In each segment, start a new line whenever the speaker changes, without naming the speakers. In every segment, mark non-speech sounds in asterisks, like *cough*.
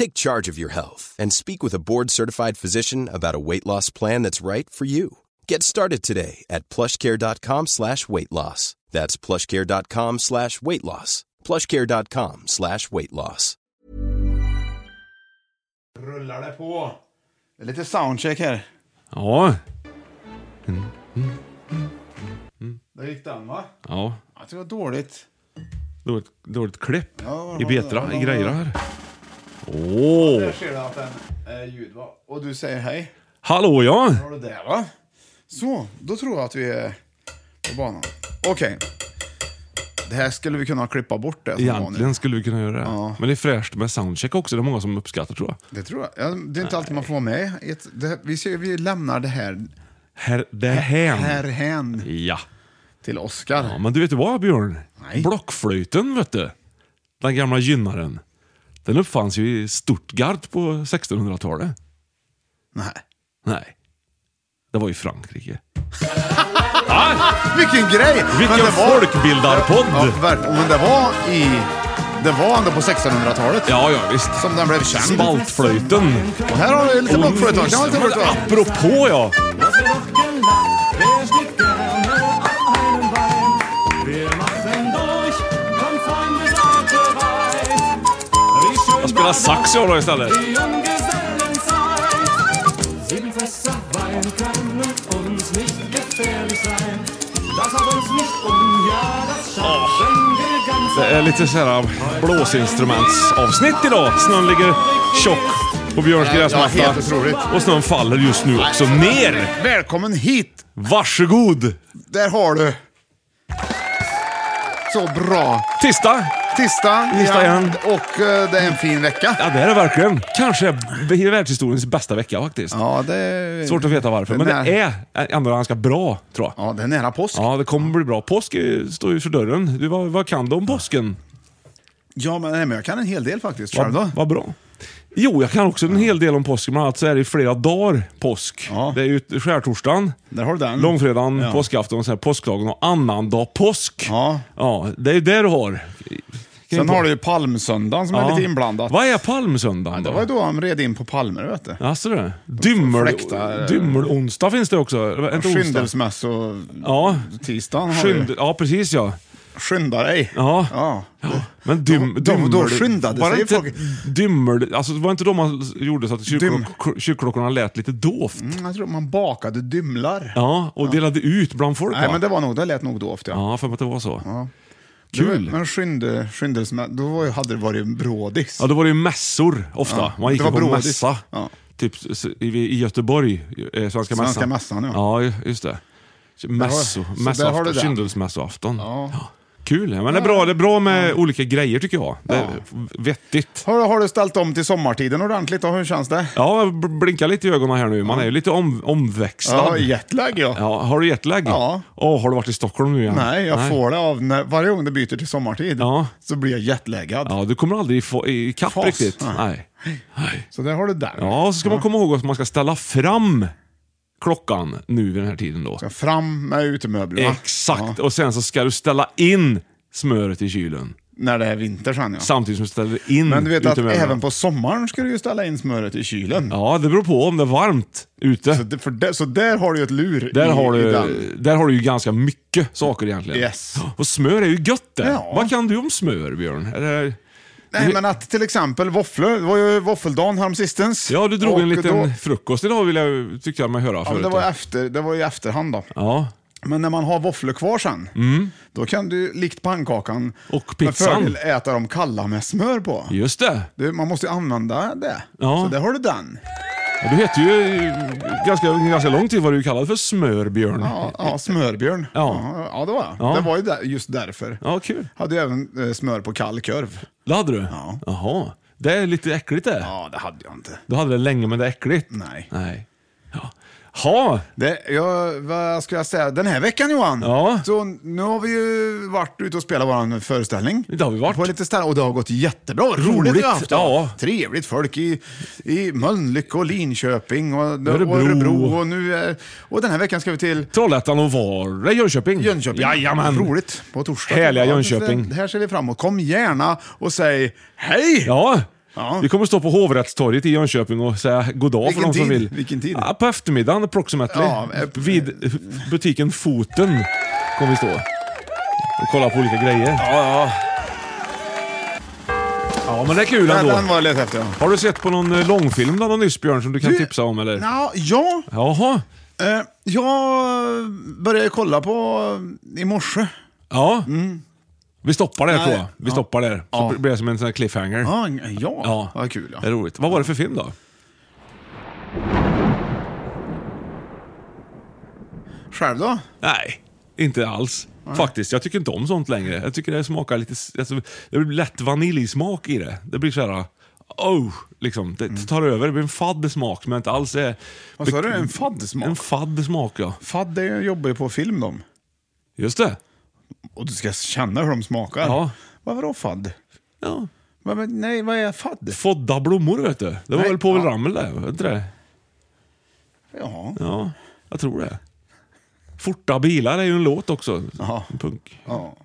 Take charge of your health and speak with a board-certified physician about a weight loss plan that's right for you. Get started today at plushcare.com slash weight loss. That's plushcare.com slash weight loss. plushcare.com slash weight loss.
Rullar det på. Det är lite soundcheck här.
Ja,
Där gick den va?
ja.
Jag tror det var dåligt.
Dåligt, dåligt klipp
Ja,
i Betra, i grejer här.
Där
Åh!
ser du att den är ljud va? Och du säger hej.
Hallå ja!
Har du det va? Så, då tror jag att vi är på banan. Okej. Det här skulle vi kunna klippa bort det som var nu.
Egentligen skulle vi kunna göra det. Men det är fräscht med soundcheck också. Det är många som uppskattar tror jag.
Det tror jag. Ja, det är inte alltid man får vara med. i ett- Det, vi, ser, vi lämnar det här
Herr, det här.
härhän
Ja.
till Oscar.
ja. Men du vet vad Björn?
Nej.
Blockflöjten vet du. Den gamla gynnaren. Den uppfanns ju i Stuttgart på 1600-talet.
Nej.
Nej. Det var i Frankrike.
Vilken grej!
Vilken folkbildarpodd!
Ja, verkligen. Men det var i... Det var ändå på 1600-talet
Ja, ja visst.
som den blev känd.
Spaltflöjten. Mm.
Och här har du lite blockflöjt. Kan man inte förstå?
Apropå ja. Jag spelar sax jag då istället.
um,
Det är lite så här um, blåsinstrumentsavsnitt idag. Snön ligger tjock på Björns
Ja,
gräsmatta.
helt otroligt.
och snön faller just nu också ner.
Välkommen hit!
Varsågod!
Där har du! Så bra.
Tisdag.
Tisdag,
Tisdag igen.
Och eh, det är en fin vecka.
Ja, det är det verkligen. Kanske i världshistoriens bästa vecka faktiskt.
Ja, det är...
Svårt att veta varför, men
Den
det är ändå ganska bra tror jag.
Ja, det är nära påsk.
Ja, det kommer bli bra. Påsk är- står ju för dörren. Du, vad, vad kan du om påsken?
Ja, men, nej, men jag kan en hel del faktiskt. Själv då?
Vad, vad bra. Jo, jag kan också en hel del om påsken. Bland annat så är det ju flera dagar påsk.
Ja.
Det är ju skärtorsdagen,
Där har du den.
långfredagen,
Ja.
påskafton, och sen påskdagen och annandag påsk.
Ja.
ja, det är ju det du har.
Sen har du ju palmsöndagen som är lite inblandad.
Vad är palmsöndagen
Det
då?
var ju då han red in på palmer, vet du.
Jaså du? Dymmel,
fläktar-
dymmelonsdag finns det också. Eller, Inte onsdag.
Skyndelsmässo...
Ja.
Tisdagen har
Skynd,
ju...
ja, precis ja.
Skynda dig!
Ja.
ja.
Men dym,
Då- då-
dymmel-
då skyndade
var det
sig
inte
folk.
Dymmel... Alltså, var det inte då man gjorde så att kyrkklock- kyrkklockorna lät lite dovt?
Mm, Jag tror man bakade dymlar.
Ja, och delade ut bland folk
Nej,
va?
men det var nog, det lät nog dovt ja.
Ja, för att det var så. Ja.
Det var-
Kul.
Men skynde, skyndelsmässo, då var ju, hade det varit brådis.
Ja, då var det ju mässor ofta.
Ja,
man gick
det var
ju på
brådigt.
mässa.
Ja.
Typ s- i, i Göteborg, eh, Svenska mässan.
Svenska mässan, ja.
Ja, ju- just det.
så där
Mässo,
har du
mässoafton,
det.
kyndelsmässoafton. Ja. Kul, ja. men det är bra, det är bra med olika grejer tycker jag. Det är vettigt.
Har, har du ställt om till sommartiden ordentligt då? Hur känns det?
Ja, b- blinka lite i ögonen här nu. Man är ju lite om, omväxlad.
Ja, jetlag ja.
Ja, har du jetlag?
Ja.
Åh, har du varit i Stockholm nu igen?
Nej, jag får det av när, varje gång det byter till sommartid
Ja.
så blir jag jetlaggad.
Ja, du kommer aldrig i fa- i kapp
Fas.
riktigt.
Nej.
Nej. Nej.
Så där har du den.
Ja, så ska man komma ihåg att man ska ställa fram klockan nu vid den här tiden då.
Ja, Fram med utemöblerna.
Exakt.
Ja,
Och sen så ska du ställa in smöret i kylen.
när det är vinter sen ja.
Samtidigt som du ställer in
Men du vet att
utemöblerna.
även på sommaren ska du ju ställa in smöret i kylen.
Ja, det beror på om det är varmt ute.
Så, det, för det, så där har du ju ett lur
Där
i,
har,
i
du,
den.
där har du ju ganska mycket saker egentligen.
Yes.
Och smör är ju gött det.
Ja.
Vad kan du om smör, Björn? Är det-
Nej, men att till exempel våfflor, det var ju våffeldagen häromsistens.
Ja, du drog
Och
en liten
Då,
frukost idag, vill jag, tyckte jag mig höra
ja,
förut.
men det, var
då.
efter, det var ju i efterhand då.
ja. Mm.
Men när man har våfflor kvar sen, då kan du likt pannkakan
Och
med
pizzan.
fördel äta dem kalla med smör på.
Just det.
Du, man måste ju använda det.
Ja.
Så där har du den.
Ja, Du hette ju eh, ganska, ganska lång tid var du ju kallad för Smörbjörn.
Ja, ja smörbjörn.
Ja.
ja, ja, det var jag.
Ja.
Det var ju där, just därför.
Ja, kul.
Hade ju även eh, smör på kall korv.
Det hade du?
Ja.
Jaha. Det är lite äckligt det.
Ja, det hade jag inte.
Du hade det länge, men det är äckligt.
Nej.
Nej. Ja. Ha.
Det, ja, vad ska jag säga? Den här veckan Johan,
Ja.
så nu har vi ju varit ute och spelat vår föreställning.
Det har vi varit.
På lite ställen, och det har gått jättebra. Roligt vi har haft.
ja.
Trevligt folk i, i Mölnlycke och Linköping och
Örebro.
och, Örebro och, nu är, och den här veckan ska vi till
Trollhättan och Varberg, Jönköping.
Jönköping.
Jajamän.
Roligt. På torsdag.
Härliga
Ja,
Jönköping.
Det här ser vi fram emot. Kom gärna och säg hej!
Ja.
Ja.
Vi kommer stå på Hovrättstorget i Jönköping och säga god dag
Vilken
för de
tid?
som vill.
Vilken tid?
Ja, på eftermiddagen approximately.
Ja, eh,
Vid eh, butiken Foten kommer vi stå. Och kolla på olika grejer. Ja, ja. Ja, men det är kul
Den,
ändå.
den var jag letade efter. ja.
Har du sett på någon eh, långfilm där någon nyss, Björn, som du kan
Du-
tipsa om eller?
Nå, ja,
Jaha.
eh, jag började kolla på eh, i morse.
Ja. Vi stoppar där
Nej.
tror jag. Vi stoppar där. Så
Mm. Ja.
blir det som en sån här cliffhanger.
Ja, en- ja. ja. vad kul.
Det
Ja.
är roligt. Vad var det för film då?
Själv då?
Nej, inte alls. Faktiskt, jag tycker inte om sånt längre. Jag tycker det smakar lite... Alltså, det blir lätt vaniljsmak i det. Det blir så här... Oh, liksom. Det det tar över. Det blir en fadd smak, men inte alls är...
Mm. Vad sa du? En fadd smak?
En fadd smak, ja.
Fadd är- jobbar ju på film de.
Just det.
Och du ska känna hur de smakar.
Ja.
Vad var då fadd?
Ja.
Vad- vad- nej, vad är fadd?
Fodda blommor, vet du. Det var
Nej,
väl Povel
ja.
Ramel det? Var inte det?
Ja.
Ja, jag tror det. Forta bilar är ju en låt också.
Ja.
En Punk.
ja.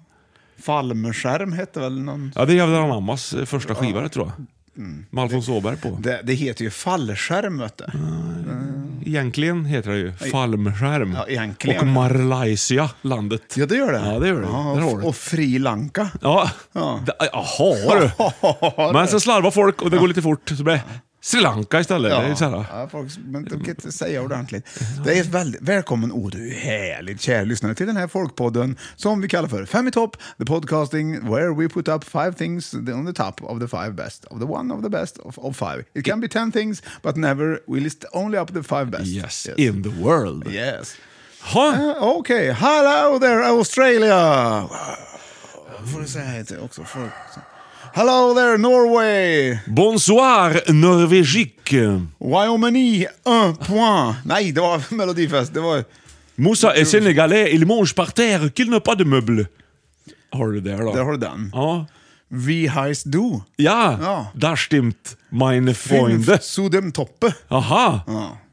Falmerskärm hette väl någon...
Ja, det är Jävlar anammas eh, första skiva, det tror jag. Med Alfons Åberg på.
Mm. Det, det heter ju fallskärm vet du.
Egentligen heter det ju Falmskärm.
Ja, egentligen.
Och Malaysia, landet.
Ja, det gör det.
Ja, det gör det.
Ja,
Där har
och-
du.
och Sri Lanka. *laughs*
Ja.
Ja.
D-
*laughs*
Jaha du. Men sen slarvar folk och det går lite fort. Så blir det Sri Lanka istället. Det är ju så här.
ja, folk, men de kan inte säga ordentligt. Det är väldigt, välkommen, oh du är härligt kär lyssnare, till den här folkpodden som vi kallar för Fem i topp, the podcasting where we put up five things on the top of the five best, of the one of the best of, of five. It can be ten things, but never we list only up the five best.
Yes, in the world.
Yes.
Ha.
Eh, Okej, hello there Australia! Wow. Får du säga hej till också? Får... Hello there Norway!
Bonsoir Norvégique.
Mm. Wyoming, un point. Nej, det var *laughs* Melodifest. Det var...
Moussa est sénégalais, il mange par terre, qu'il n'a pas de meuble. Har du det då?
Där har du den.
Ja.
Wie heißt du?
Ja,
Ja.
där stimmt meine Freunde.
Zu dem Toppe.
Aha.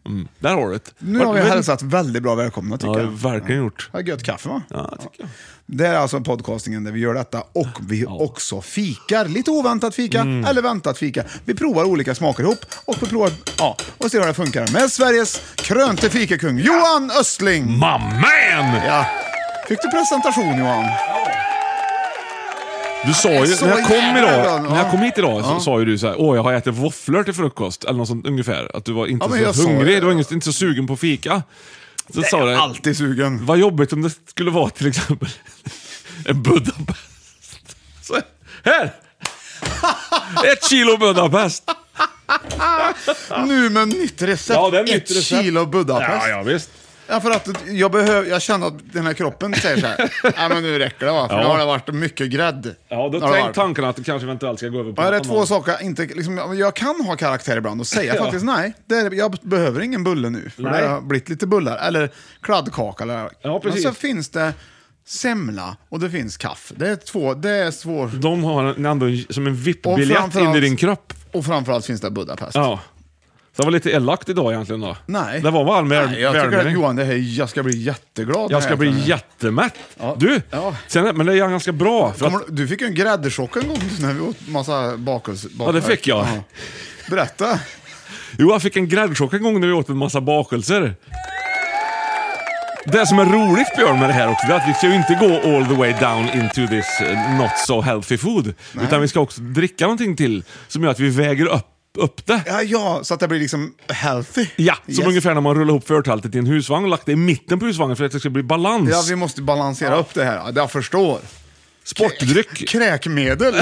Mm, där har du det.
Nu har vi
Men-
hälsat väldigt bra välkomna tycker
Ja, det har
jag.
vi verkligen gjort.
Har gött kaffe va?
Ja, tycker jag.
Det är alltså podcastingen där vi gör detta och vi också fikar. Lite oväntat fika
Mm.
eller väntat fika. Vi provar olika smaker ihop och vi provar, ja, och ser hur det funkar med Sveriges krönte fikakung Johan Östling.
My man!
Ja. Fick du presentation Johan?
Du sa
är
ju,
så
när jag kom,
jävla
idag,
glad,
när jag
ja.
kom hit idag så
Ja.
sa ju du så här, åh jag har ätit våfflor till frukost, eller något sånt ungefär. Att du var inte
Ja, men jag sa
så hungrig,
det.
du var inte, inte så sugen på fika. Så sa
Jag är
du,
alltid sugen.
vad jobbigt om det skulle vara till exempel *laughs* en Budapest. Så,
*laughs*
här! Ett kilo Budapest!
Nu med nytt recept.
Ja, det är nytt
Ett
recept.
kilo Budapest.
Ja, ja visst.
Ja, för att jag, behöv, jag känner att den här kroppen säger så
*laughs*
här. Nej, men nu räcker det va? För
Ja.
nu har det varit mycket grädde.
Ja, då
Har det
tänk
varit.
tanken att du kanske eventuellt ska gå över på
Ja, det är
något
två
annat.
saker jag inte... Liksom, ja, men jag kan ha karaktär ibland och säga
Ja.
faktiskt nej, det är, jag behöver ingen bulle nu. För
Nej.
det har blivit lite bullar, eller kladdkaka. Eller,
Ja, precis.
Men så finns det semla och det finns kaffe. Det är två, det är svårt.
De har en, ändå en, som en
Och
VIP-biljett in i
framförallt-
din kropp.
Och framförallt finns det Budapest.
Ja. Så det var lite elakt idag egentligen då.
Nej.
Det var bara med
Nej, jag tycker att Johan, det här, jag ska bli jätteglad.
Jag ska
när
bli
äter den här.
jättemätt.
Ja.
Du,
Ja.
sen, men det är jag ganska bra. För att,
Kommer du- Du fick ju en gräddchock en gång när vi åt massa bakelse.
ja, det fick jag.
Berätta.
Jo, jag fick en gräddchock en gång när vi åt en massa bakelser. Det som är roligt Björn med det här också, det är att vi ska ju inte gå all the way down into this eh, not so healthy food. Utan vi ska också dricka någonting till som gör att vi väger upp, upp det.
Ja, ja, så att det blir liksom healthy.
Ja, som
Yes.
ungefär när man rullar ihop förtältet i en husvagn och lagt det i mitten på husvagnen för att det ska bli balans.
Ja, vi måste balansera upp det här. Ja, Jag förstår.
Sportdryck. *laughs*
Kräkmedel.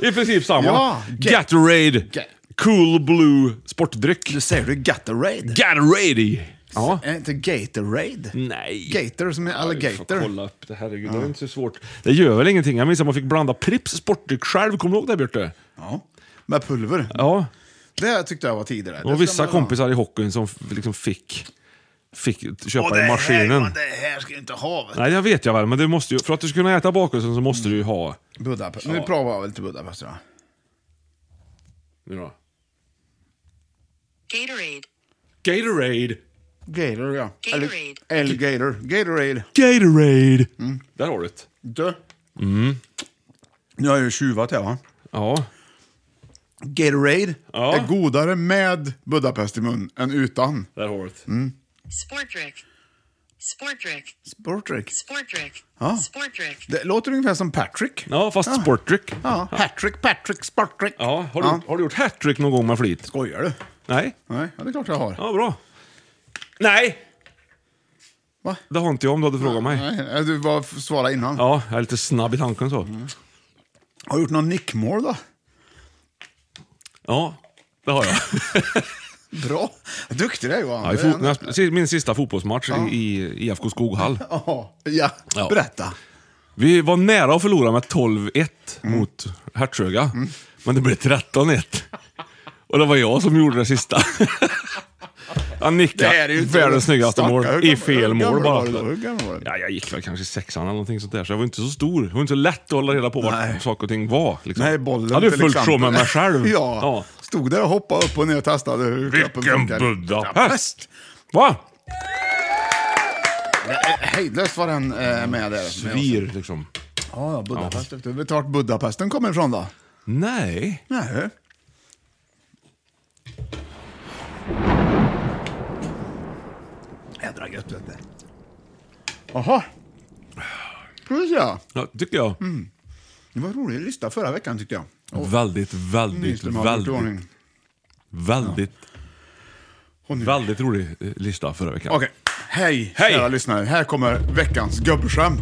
I princip samma.
Ja, get-
Gatorade.
Ga-
Cool Blue sportdryck.
Du säger du Gatorade?
Gatorade. Ja.
Är det inte Gatorade?
Nej.
Gator som är
Jag får
alligator.
kolla upp det. Herregud, det var inte så svårt. Det gör väl ingenting. Jag minns att man fick blanda Pripps sportdryck själv. Kommer du ihåg det, Björte?
Ja. Med pulver.
Ja.
Det tyckte jag var tidigare.
Och vissa kompisar i hockeyn som f- liksom fick, fick köpa i maskinen.
Här, det här ska du inte ha. vet du.
Nej, det vet jag väl, men du måste ju, för att du ska kunna äta bakelsen så måste du ju ha...
Budapest. Nu provar jag lite Budapest. Då.
Nu då.
Gatorade.
Gatorade.
Gator, ja.
Gatorade.
Eller, eller Gator. Gatorade.
Gatorade.
Mm.
Där har du det.
Du. Nu har jag ju tjuvat här va.
Ja.
Gatorade
Ja.
är godare med Budapest i mun än utan.
Där har du det.
Mm.
Sportdrick. Sportdrick.
Sportrick.
Sportdrick.
Oh.
Ja.
Sportdrick.
Det låter ungefär som Patrick.
Ja, fast sportdryck.
Ja. Patrick, Patrick, Sportrick.
Ja, har du, har du gjort hattrick någon gång med flit?
Skojar du?
Nej.
Nej, ja, det är klart jag har.
Ja, bra. Nej!
Va?
Det har inte jag om du hade frågat mig.
Nej, nej, du var svara innan.
Ja, jag är lite snabb i tanken så.
Mm. Har du gjort någon nickmål då?
Ja, det har jag.
Bra. Duktig du är Johan.
ja, i
Det är
fot, när jag sp- min sista fotbollsmatch i, i IFK Skoghall.
Ja, ja.
Ja.
berätta.
Vi var nära att förlora med 12-1
Mm.
mot Hertsöga. Men det blev 13-1. Och det var jag som gjorde det sista.
*laughs*
Han nickade världens snyggaste mål
Stackare, hur
i
gammal-
fel
hur
mål
gammal
bara.
var du då? Hur gammal var du?
Ja, jag gick väl kanske i sexan eller någonting sånt där, så jag var inte så stor. Det var inte så lätt att hålla reda på
Nej.
vart saker och ting var. Liksom.
Nej, bollen
Jag hade ju
till
fullt sjå
exempel.
med mig
*laughs*
själv.
ja. Stod där och hoppade upp och ner och testade hur kroppen
Vilken
funkar.
Budapest! Va?
Det är Eh, Hejdlöst var den eh, med där.
Svir, liksom.
Ja, ja, Budapest. Ja. Vet du vart Budapesten kommer ifrån då?
Nej.
Nej. Jädra gött vet du. Jaha. Ska vi se.
Ja, tycker jag.
Mm. Det var rolig lista förra veckan tyckte jag.
Väldigt, väldigt,
Nyström har gjort i
väldigt,
ordning.
väldigt,
Och nu-
väldigt rolig eh, lista förra veckan.
Okej. Hej,
Hej.
kära lyssnare. Här kommer veckans gubbskämt.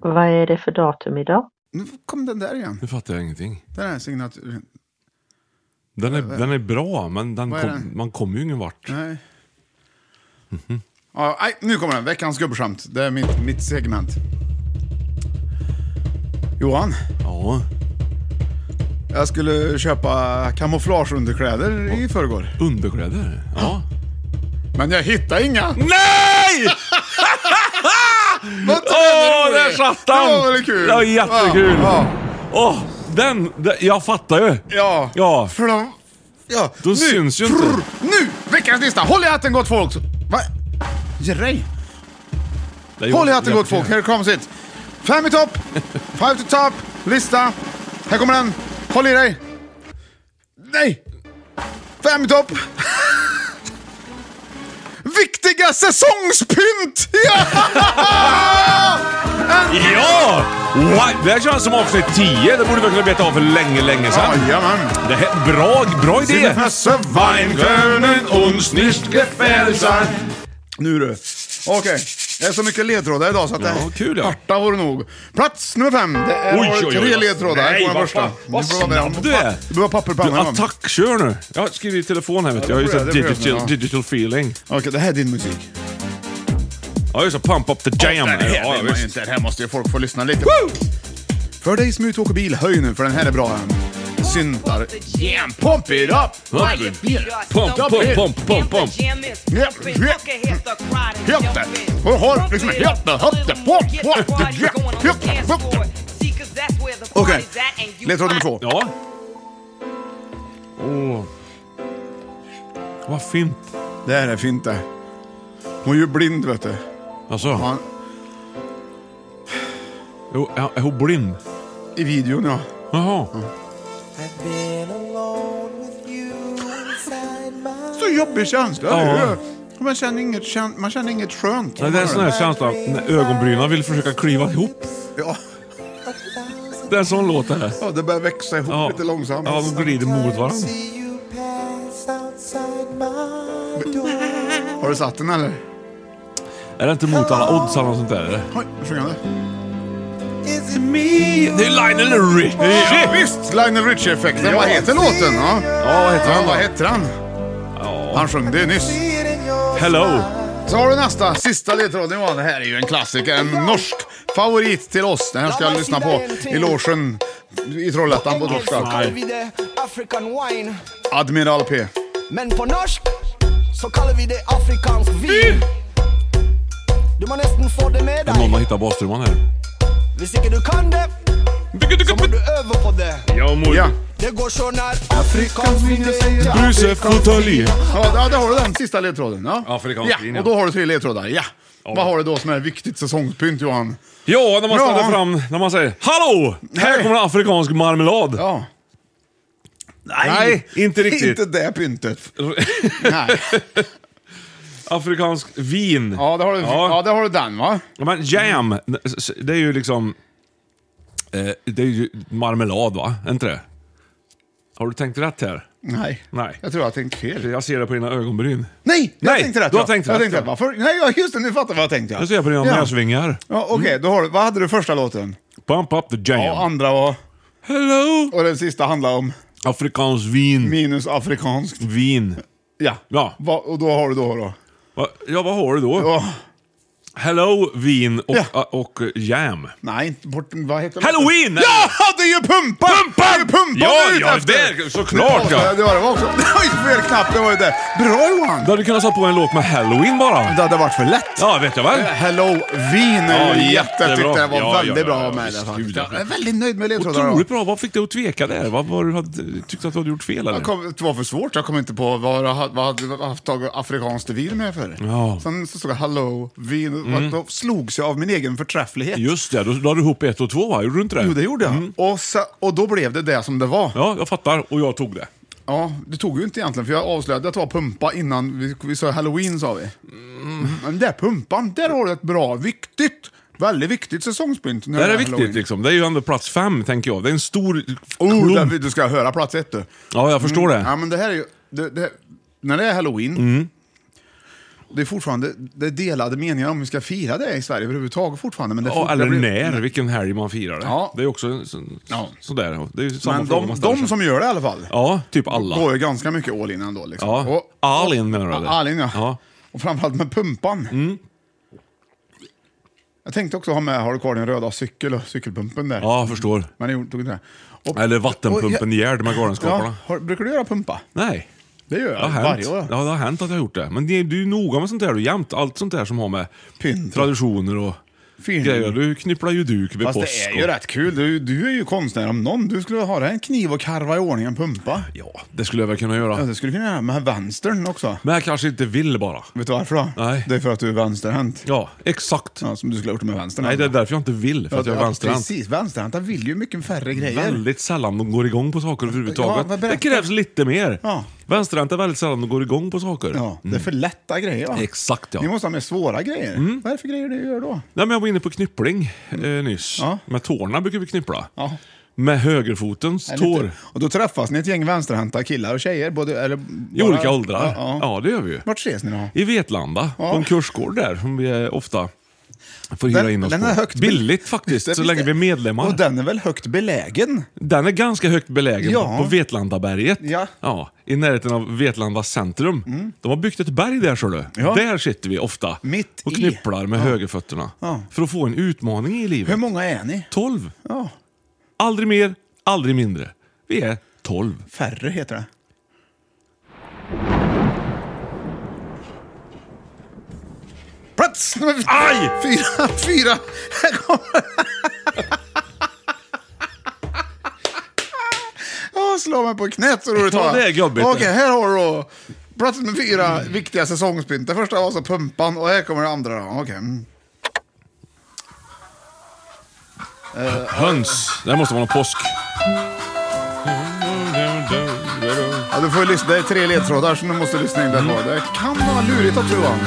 Vad är det för datum idag?
Nu kom den där igen.
Nu fattar jag ingenting.
Den här signaturen.
Den är, den är bra, men den
Vad är
kom,
den?
man kommer ju ingen vart.
Nej. Ja, nej, nu kommer den. Veckans gubbskämt. Det är mitt, mitt segment. Johan,
Ja.
jag skulle köpa kamouflageunderkläder i förrgår.
Underkläder? Ja.
Men jag hittade inga!
*laughs* Nej!
Vad
Åh,
trevligt!
där satt han!
Det var väl kul?
Det var jättekul.
Ja,
Åh, den, den... Jag fattar ju.
ja.
Ja.
För de, ja.
Då syns ju inte.
Prr, nu! Veckans lista! Håll i hatten gott folk! Va? Grej.
Det är ju-
Håll i hatten gott folk,
jättekul.
här comes it! Fem i topp, five to top, lista. Här kommer den. Håll i dig. Nej! Fem i topp. *laughs* Viktiga säsongspynt! *laughs* Ja!
Ja! Wow. Det här känns som avsnitt 10. Det borde vi kunna beta av för länge, länge sedan.
Jajamän.
Det här, bra, bra idé!
Mösse, Wein, Könen, uns nicht gefällt sein. Nu du. Okej, det är så mycket ledtrådar idag så att
Ja,
det
kul, ja.
arta var det nog. Plats nummer fem. Det är
Oj, oj, oj,
tre
oj.
ledtrådar. Här
Nej,
kommer den
vad
första.
fan, vad
Du behöver-
snabb du är.
Du behöver papper på
Du,
annan hand.
attackkör nu. Jag skriver i telefon här vet du. Jag har ju
det får
sån
jag- det får jag
digital,
med, ja.
digital feeling.
Okej, det här är din musik.
Ja just det, pump up the jam.
Åh, den här
ja,
vill man ju
visst.
inte. Den här måste ju folk få lyssna lite på. För dig som är ute och åker bil, höj nu för den här är bra. Den. Syntar. Jam, pump it up!
Pump it. Pump, pump, pump, pump, pump.
Japp, japp. Japp det. Och håll liksom japp det, hopp det, pop, pop det, japp, japp det, pop det. Okej, ledtråd nummer två.
Ja. Åh. Vad fint.
Det här är fint det. Hon är ju blind vet du.
Alltså,
Ja,
jo, är är hon blind?
I videon ja.
Jaha.
Så jobbig känsla. det är
Ja.
ju. Man känner inget, kän- man känner inget skönt.
Nej, det är en sån här känsla när ögonbrynen vill försöka kliva ihop.
Ja,
Det är en sån låt det här.
ja, det börjar växa ihop
Ja.
lite långsamt.
Ja, de glider mot varandra.
Har du satt den eller?
Är det inte mot alla odds eller något sånt där eller?
Oj, nu sjunger han det.
Det är Lionel
Ja,
Richie!
visst! Lionel Richie-effekten. Vad heter låten? Ja,
Ja, vad heter
ja
han
vad
då?
heter han? Han sjöng det nyss.
Hello!
Så har du nästa, sista ledtråden Johan. Det här är ju en klassiker, en norsk favorit till oss. Den här ska jag lyssna på i logen i Trollhättan på torsdag.
kallar vi det African wine.
Admiral P.
Men på norsk så kallar vi det afrikansk vin. Du må nästan få det med
Är det någon har
dig.
hittat bastrumman här?
Visst inte du kan det, så må du öva på det.
Ja, mor.
Ja,
Det går så när afrikansk vin jag säger.
Brusef Kotalje.
ja där- där har du den sista ledtråden. Ja,
Afrikansk
ja.
vin, ja.
Och då har du tre ledtrådar, ja. Vad har du då som är viktigt säsongspynt Johan?
Ja, när man
Ja.
ställer fram, när man säger Hallå! Här
Nej.
kommer en afrikansk marmelad.
Ja.
inte riktigt.
*laughs* Inte det
*laughs*
pyntet. Nej.
Afrikansk vin.
Ja, där har du, ja.
Ja.
där har du den va?
Men jam, det är ju liksom... eh, Det är ju marmelad va? Är inte det? Har du tänkt rätt här?
Nej.
Nej.
Jag tror jag tänkte fel.
Jag ser det på dina ögonbryn.
Nej, jag
Nej,
tänkte rätt.
du har
ja.
tänkt
jag
rätt,
tänkte
ja.
rätt. Varför? Nej, ja, just det, nu fattar jag vad jag tänkte. Ja.
Jag ser på dina
ja.
näsvingar.
Ja, Okej,
Mm.
då har du, vad hade du första låten?
Pump up the jam.
Och andra var...
Hello!
Och den sista handlar om
Afrikansk vin.
minus afrikanskt.
Vin.
Ja.
Ja.
Va, och då har du då då?
Va, ja, vad har du då?
Ja.
Hello, vin och, äh,
Ja.
och, och jam.
Nej, inte bort... Vad heter
Halloween!
låten? Ja, det är ju pumpa! Pumpa! Det är ju pumpa
Ja,
du är ute
ja,
efter.
det är- såklart,
Det var-
ja.
Det var det var också. *laughs* Oj, fel knapp, det var ju det. Bra Johan!
Du hade kunnat sätta på en låt med halloween bara.
Det hade varit för lätt. Eh,
Ja, vet jag väl.
Halloween är
Ja,
ju jätte. Jag
jättebra.
tyckte det var
Ja,
väldigt
ja, ja,
bra
ja,
med
visst,
det.
gud,
faktiskt.
ja.
Jag är väldigt nöjd med ledtrådarna.
Otroligt bra. Vad fick dig att tveka där? Vad var du hade, tyckte att du hade gjort fel eller?
Jag kom, det var för svårt, jag kom inte på vad jag hade- vad hade jag haft tagit afrikanskt vin med för.
Ja. Mm.
Sen så stod jag hello, vin, då slogs jag av min egen förträfflighet.
Just det, då la du ihop ett och två va? Gjorde du inte det?
Jo, det gjorde jag. Och, så, och då blev det det som det var. Ja.
Mm. Ja, jag fattar. Och jag tog det.
det tog ju inte egentligen, för jag avslöjade att det var pumpa innan vi, vi sa halloween, sa vi.
Mm.
Men där pumpan, där har du ett bra, viktigt, väldigt viktigt säsongspynt. när
Det här är
halloween.
viktigt liksom. Det är ju ändå plats fem, tänker jag. Det är en stor
Oh,
klump.
där, Mm, du ska höra plats ett du.
Ja, jag förstår det. Mm.
Ja, men det här är ju... Det, det, när det är halloween Det är fortfarande det är delade meningar om hur vi ska fira det i Sverige överhuvudtaget fortfarande. Men det
Ja,
fort-
eller
det blir-
när, vilken helg man firar det.
Ja.
Det är också en sån,
Ja.
sådär. Det är ju samma
Men
fråga man
de,
ställer sig.
de som gör det i alla fall.
Ja, typ alla.
Går ju ganska mycket all in ändå. Liksom.
Ja.
Och-
All in menar du, eller?
Ja, all in ja.
Ja. Mm.
Och framförallt med pumpan. Jag tänkte också ha med, har du kvar din röda cykel och cykelpumpen där?
Ja, jag förstår.
Men jag tog inte det. Och-
Eller vattenpumpen
och jag-
Gerd med
Ja,
Galenskaparna.
har, brukar du göra pumpa?
Nej.
Det gör
Det
jag
har hänt.
varje år.
Ja, det har hänt att jag har gjort det. Men det, du är ju noga med sånt där du jämt. Allt sånt där som har med
Pynt.
traditioner och
Fynd.
grejer. Du knypplar ju duk vid
Fast
påsk.
det är ju
och-
rätt kul. Du, du är ju konstnär om någon. Du skulle ha en kniv och karva i ordning en pumpa.
Ja, det skulle jag väl kunna göra.
Ja, det skulle du kunna göra med vänstern också.
Men jag kanske inte vill bara.
Vet du varför då?
Nej.
Det är för att du är vänsterhänt.
Ja, exakt.
Ja, som du skulle ha gjort med vänstern.
Nej, det är därför jag inte vill. För att jag är
Ja,
vänsterhänt.
Precis, vänsterhänta vill ju mycket färre grejer.
Väldigt sällan de går igång på saker
Ja,
överhuvudtaget.
vad berättar-
det krävs lite mer.
Ja.
Vänsterhänta är väldigt sällan de går igång på saker.
Ja, det är
Mm.
för lätta grejer. Va?
Exakt ja. Mm.
Ni måste ha med svåra grejer. Vad är det för grejer du gör då?
Nej, men jag var inne på knyppling eh, nyss.
Mm. Ja.
Med tårna brukar vi knippla.
Ja.
Med högerfotens
Är det
tår.
inte- Och då träffas ni ett gäng vänsterhänta killar och tjejer? Både, eller,
I
bara-
olika åldrar.
Ja,
Ja,
ja.
det gör vi ju.
Vart ses ni då?
I Vetlanda,
Ja.
på en kursgård där som vi eh, ofta får hyra
Den-
in oss
den
på.
är högt be-
Billigt
*laughs*
faktiskt,
Det
så
visst
länge vi är medlemmar.
Och
den...
den är väl högt belägen?
är ganska högt belägen
Ja.
på Vetlandaberget.
Ja. Mm.
I närheten av Vetlanda centrum. De har byggt ett berg där ser du.
Ja.
Där sitter vi ofta
Mitt
och
i.
knypplar med högerfötterna.
Ja.
För att få en utmaning i
Hur
livet.
många är ni?
12.
Ja,
Aldrig mer, aldrig mindre. Vi är 12.
färre heter det. Plats nummer f-
Aj!
fyra! Fyra! Här kommer Jag slår mig på knät så roligt
Ja,
var
det är jobbigt.
Okej, här har du då plats nummer fyra, viktiga säsongspynt. Det första var så pumpan och här kommer det andra då. Okej. mm.
Höns. Det här måste vara någon påsk.
Ja, du får ju lyssna. Det är tre ledtrådar som du måste lyssna in där på. Det kan vara lurigt också Johan.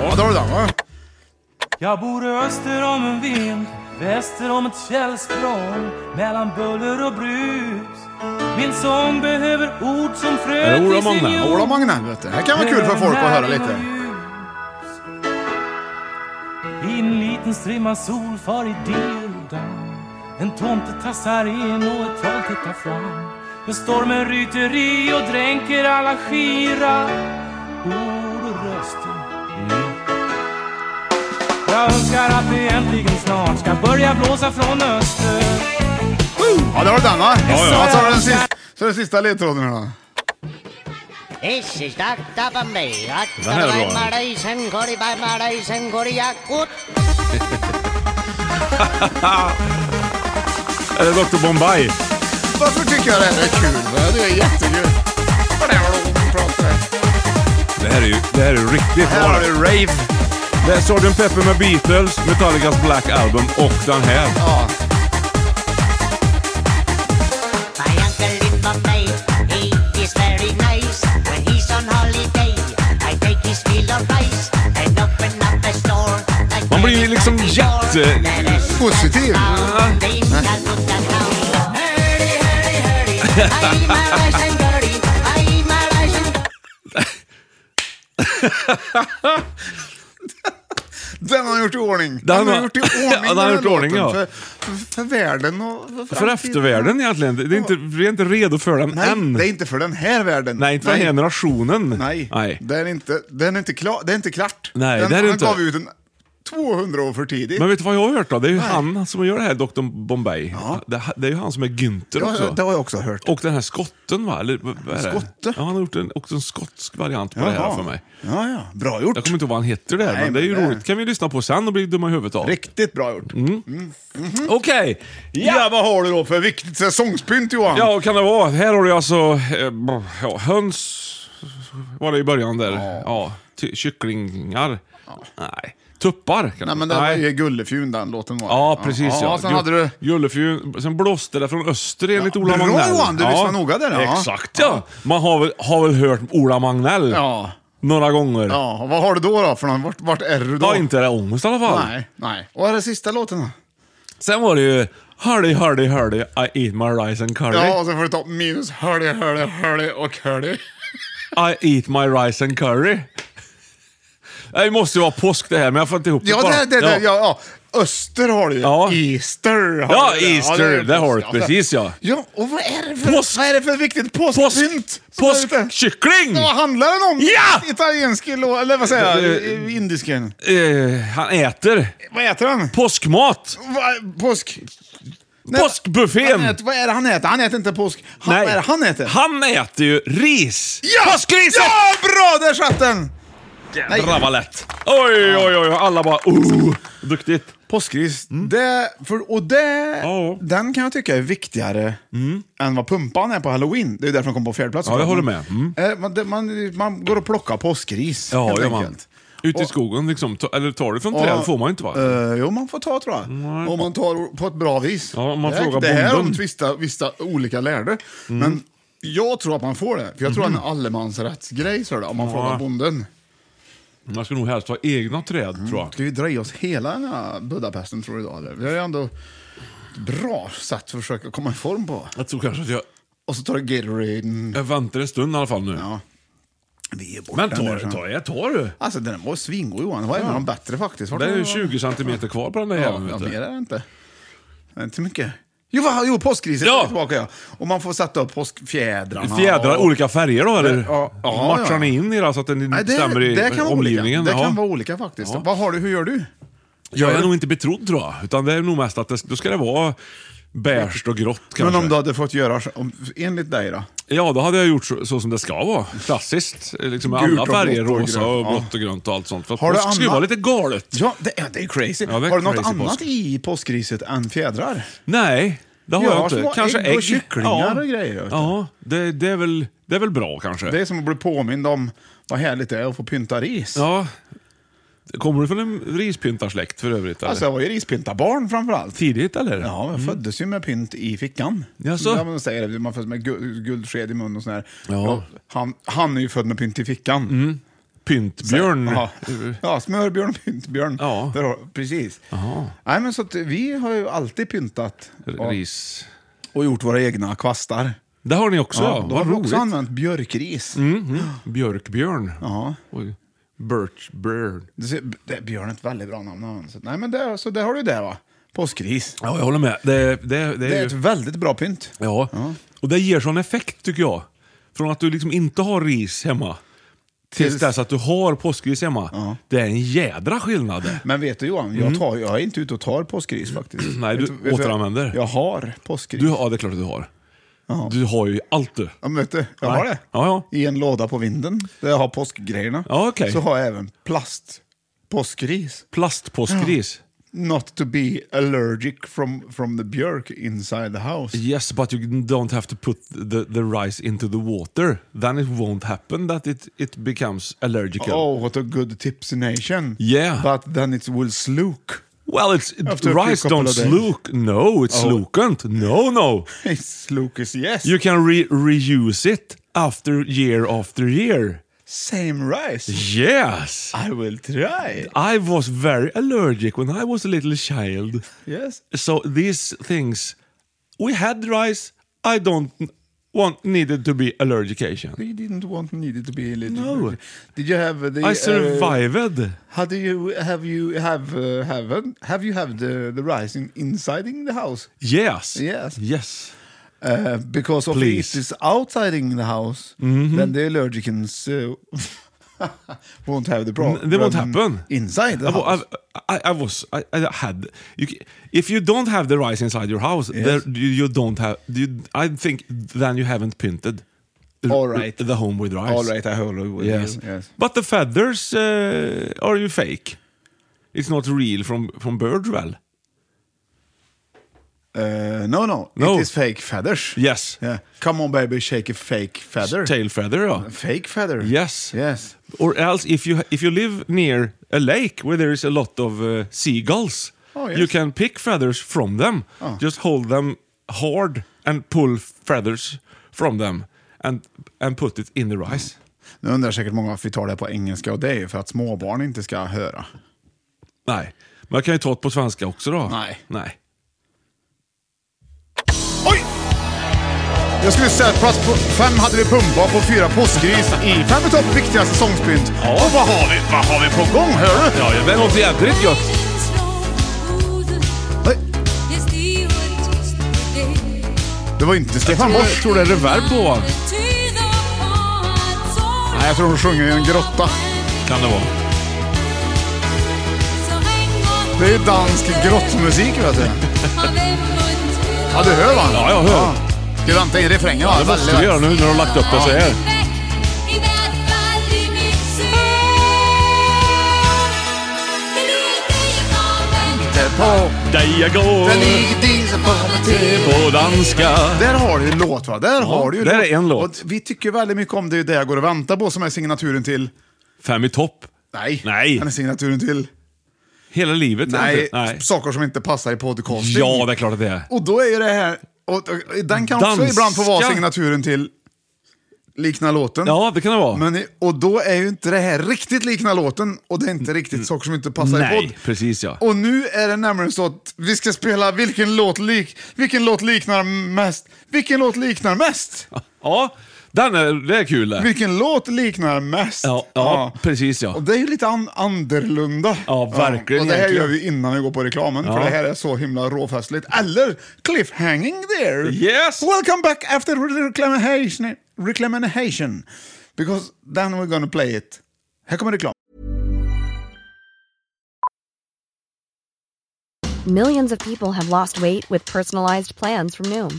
Ja, då har du den va?
Jag bor öster om en vind, väster om ett källsprång, mellan buller och brus. Min sång behöver ord som
Är
frö
det Ola
till sin
Magnell?
jord.
Ola Magnell vet du. Det här kan vara kul för folk att höra lite.
I en liten strimma sol far i dildan. En tomte tassar in och ett troll tittar fram. Men stormen ryter i och dränker alla skira ord och röster.
Mm.
Jag önskar att det äntligen snart ska börja blåsa från öster.
Ja, då har du den va?
ja.
så har du den sista, så är det sista ledtråden här då.
Esse starta på mig.
Den här är bra.
Sen går det bara med sen går det jackot.
Är det Dr Bombay?
Varför tycker jag det här är kul? va? Det är jättekul. Vad är det de pratar om?
Det här är ju, det här är ju riktigt
Här har
bra.
du rave.
Det är Sgt. Pepper med Beatles, Metallicas Black Album och den här.
Ja.
My uncle in Bombay, he is very nice. When he's on holiday, I take his fill of rice and open up a store. like
Man blir ju
never
liksom
before.
jätte-
That
*laughs*
is
Positiv.
the thing I put that down. Hurry, hurry, hurry.
*laughs*
I eat my rice and curry. I eat my rice and
Den har han gjort i ordning.
Den
Han har
har-
gjort i ordning.
*laughs* Ja, den har
här
gjort i ordning,
låten
ja.
För, för, för världen och för,
För
framtiden.
eftervärlden egentligen. Det är inte, vi är inte redo för den
Nej,
än.
det är inte för den här världen.
Nej, inte för
Nej.
generationen.
Nej,
Nej.
Den, är inte, den är inte klar. Det är inte klart.
Nej,
den,
det är det
han
inte.
gav ut den 200 år för tidigt.
Men vet du vad jag har hört då? Det är ju han som gör det här, Dr Bombay. Det, det är ju han som är Günther
Ja,
också.
det har jag också hört.
Och den här skotten va? Eller, vad vad är det?
Skotte?
Ja, han har gjort en, också en skotsk variant på det här
Jaha.
för mig.
Ja, ja. Bra gjort.
Jag kommer inte ihåg vad han heter där,
Nej,
men det är ju
men det-
roligt. kan vi lyssna på sen och bli dumma i huvudet av.
Riktigt bra gjort.
Mm. Okej!
Ja.
Ja!
vad har du då för viktigt säsongspynt Johan?
Ja, vad kan det vara? Här har du alltså eh, br- ja, höns, var det i början där. Ja. ty- kycklingar. Nej. Tuppar kan
Nej men det var ju Gullefjun den låten var.
Ja, precis ja.
ja. Sen hade du...
Gullefjun, sen blåste det från öster enligt
Ja,
Ola
bra,
Magnell.
Johan, du lyssnar noga där, ja.
Exakt ja. Man har väl, har väl hört Ola Magnell
Ja.
några gånger. Ja.
Ja, och vad har du då då för någon? Vart, vart är du då?
inte det ångest i alla fall.
Nej, nej. Och vad är det sista låten då?
Sen var det ju Hurdy, hurdy, hurdy, I eat my rice and curry.
Ja, och så får du ta minus hörde, hörde, hörde och hörde.
I eat my rice and curry. Nej, *laughs* Det måste ju vara påsk det här, men jag får inte ihop det
Ja,
bara.
det, det, det, ja. ja, öster har du ju.
Ja.
Easter har
Ja,
du ju.
Easter, det har du. Precis, ja.
Ja, och vad är det för,
Påsk.
vad är det för viktigt
Påsk,
påskpynt? som är ute?
påskkyckling!
Vad handlar den om?
Ja!
Italiensk, lo- eller vad säger jag?
Eh, eh,
Indisken.
Eh, han äter
Vad äter han?
påskmat.
Va, påsk... Nej,
Påskbuffén.
Han äter, vad är det han äter? Han äter inte påsk. Han, vad är det han äter?
Han äter ju ris.
Ja!
Påskriset!
Ja, bra! Där satt den!
Jädrar vad lätt. Oj, oj, oj. Alla bara oh, duktigt.
Påskris, det, för, och det,
Mm. Ja. Mm.
den kan jag tycka är viktigare än vad pumpan är på halloween. Det är därför den kom på fjärde plats.
Ja, jag håller
Men,
med. Mm.
eh, Man, det- man, man går och plockar påskris,
Ja,
helt
gör man.
enkelt.
Ute i
Och-
skogen liksom. Ta, eller tar du från
Och-
träd får man ju inte va?
Eh, jo, man får ta tror jag. Om man tar på ett bra vis.
Ja, om man
det,
frågar
det här
bonden. Mm.
om vissa, vissa olika lärde. Men jag tror att man får det. För jag tror
Mhm.
att det är en allemansrättsgrej, så är det, om man frågar bonden.
Man ska nog helst ha egna träd tror jag.
Ska vi dra i oss hela den här Budapesten tror du idag eller? Vi har ju ändå ett bra sätt att försöka komma i form på.
Jag tror kanske att jag,
Och så tar du Gatorade.
jag väntar en stund i alla fall nu.
Ja. Vi är borta
Men
nu,
tar du,
så.
tar jag, tar du.
Alltså den var svingod Johan. Det var en av de bättre faktiskt. Vart
Det är
den
ju
var-
20 centimeter kvar på den där
Ja,
jäveln
ja,
vet
mer
du.
är det inte. Det är inte mycket. Jo, va, jo påskgrisen
Ja.
är tillbaka ja. Och man får sätta upp påskfjädrarna.
Fjädrar,
och-
olika färger då eller?
Ja, ja,
Matchar
ja.
ni in i det så att den
Nej, det,
stämmer i
det kan vara
omgivningen?
Olika. Det
Ja.
kan vara olika faktiskt.
Ja.
Vad har du, hur gör du?
Jag är
du?
nog inte betrodd tror jag. Utan det är nog mest att det, då ska det vara beige och grått kanske.
Men om du hade fått göra så- om, enligt dig då?
Ja, då hade jag gjort så, så som det ska vara. Klassiskt. Eh, Liksom med
Gult
alla
och
färger,
blått och
rosa
grönt.
och
Ja.
blått och grönt och allt sånt. För att
Har du
påsk ska ju
annat?
vara lite galet.
Ja, det är, det är crazy.
Ja, det är
har du något
crazy
annat
påsk.
i påskgriset än fjädrar?
Nej, det har
Ja,
jag
små
inte. Kanske
ägg
ägg.
och kycklingar och grejer, vet du.
Ja, det, det, är väl, det är väl bra kanske.
Det är som att bli påmind om vad härligt det är att få pynta ris.
Ja. Kommer du från en rispyntarsläkt för övrigt? Eller?
Alltså jag var ju rispyntarbarn framförallt.
Tidigt eller?
Ja, jag föddes ju med pynt i fickan.
Mm. Jaså?
Ja, man säger det, man föds med gu- guldsked i munnen och sådär.
Ja. Mm,
Han, han är ju född med pynt i fickan.
Pyntbjörn. *laughs* Eh,
Ja, ja smörbjörn och pyntbjörn.
Ja.
Där har, precis. Nej, men så att vi har ju alltid pyntat och,
Ris.
och gjort våra egna kvastar.
Det har ni också ja.
då
Vad
har vi också
roligt. Mm.
använt björkris.
Björkbjörn.
Ja.
Oj. Birchbjörn.
Det, ser- det är björn är ett väldigt bra namn. att använda. Så, nej, men det, så det har du där va? Påskris.
Ja, jag håller med. Det, det, det,
Det är
ju...
ett väldigt bra pynt.
Ja. och det ger sån effekt tycker jag. Från att du liksom inte har ris hemma tills
Tills-
dess att du har påskris hemma. Det är en jädra skillnad. det.
Men vet du Johan, jag, tar, jag är inte ute och tar påskris faktiskt.
Mm. *clears throat* Nej, du
vet, vet vad jag-
återanvänder.
Jag har påskris.
Du, ja, det är klart att du har. Du har ju allt du.
Ja, men vet du, jag
Nej.
har det.
Ja, ja.
I en låda på vinden, där jag har påskgrejerna.
Ja, okej.
Så har jag även plast påskris.
Plastpåskris.
Not to be allergic from, from the björk inside the house.
Yes, but you don't have to put the, the rice into the water. Then it won't happen that it, it becomes allergical.
Oh, what a good tipsination.
Yeah.
But then it will *laughs* sluk.
Well, it's
After a
rice
couple
don't
of days.
sluk. No, it slukant. No, no.
sluk is yes.
You can re reuse it after year after year.
Same rice.
Yes.
I will try.
I was very allergic when I was a little child.
Yes.
So these things, we had rice. I don't want needed to be allergic. Asian.
We didn't want needed to be allergic.
No.
Did you have the...
I
uh,
survived.
How do you have you have uh, have have you have the the rice in, inside in the house
yes.
Yes.
Yes.
uh, because of
Please. Mm-hmm.
it is outside in the house then the allergens uh, *laughs* won't have the problem.
N- they won't happen. Oh,
inside the
I,
house.
I, I- I was. I, I had. You, c- if you don't have the rice inside your house,
Yes.
there, you, you don't have. You, I think then you haven't pinted. r-
All right.
The home with rice.
All right, I hold with
Yes.
you. Yes.
But the feathers uh, are you fake? It's not real from from birds, well.
Uh, no, no,
No.
it is fake feathers.
Yes.
Yeah. Come on, baby, shake a fake feather.
Tail feather, ja.
Fake feather.
Yes.
Yes.
Or else if you if you live near a lake where there is a lot of uh, seagulls,
Oh, yes.
you can pick feathers from them.
Oh.
Just hold them hard and pull feathers from them and and put it in the rice.
Mm. Nu undrar säkert många varför vi tar det på engelska och det är ju för att småbarn inte ska höra.
Nej, men jag kan ju ta det på svenska också då.
Nej.
Nej.
Oj! Det Jag skulle säga att plats på fem hade vi Pumba och på fyra Påskgris i Fem i topp viktiga säsongspynt.
Ja.
Och vad har, vi, vad har vi på gång, hör du?
Ja, det låter jädrigt gött.
Nej, det var inte Stefan
tror-
Borsch.
tror det är reverb på, va?
Nej, jag tror de sjunger i en grotta.
Kan det vara.
Det är ju dansk grottmusik, vet du. Ja, du hör va?
Ja, jag hör.
Ska vi vänta in refrängen va?
Det måste vi göra nu när de har lagt upp det så här.
På
Där jag går
den ligger diesel på med till.
på danska.
Där har du ju en låt va? Där har du ju
där
låt.
är en låt.
Och vi tycker väldigt mycket om det, är det jag går och väntar på som är signaturen till...
Fem i topp.
Nej.
Nej.
Den är signaturen till...
Hela livet. är
Nej,
det- Nej.
saker som inte passar i podcasting.
Ja, det är klart att det är.
Och då är ju det här... Och, och, den kan också
Danska.
ibland få vara signaturen till likna låten.
Ja, det kan det vara.
Men, i- och då är ju inte det här riktigt likna låten och det är inte riktigt saker som inte passar i
Mm, Nej,
podd.
precis ja.
Och nu är det nämligen så att vi ska spela vilken låt, lik, vilken låt liknar mest. Vilken låt liknar mest?
Ja, den är, det är kul det.
Vilken låt liknar mest?
Ja, ja, precis, ja.
Och det är ju lite an- annorlunda.
Ja, verkligen,
Och det här
egentligen.
gör vi innan vi går på reklamen, för
Ja.
det här är så himla råfestligt. Eller cliffhanging there!
Yes.
Welcome back after reclamation. reclamation. Because then we're gonna play it. Här kommer reklam.
Millions of people have lost weight with personalized plans from Noom,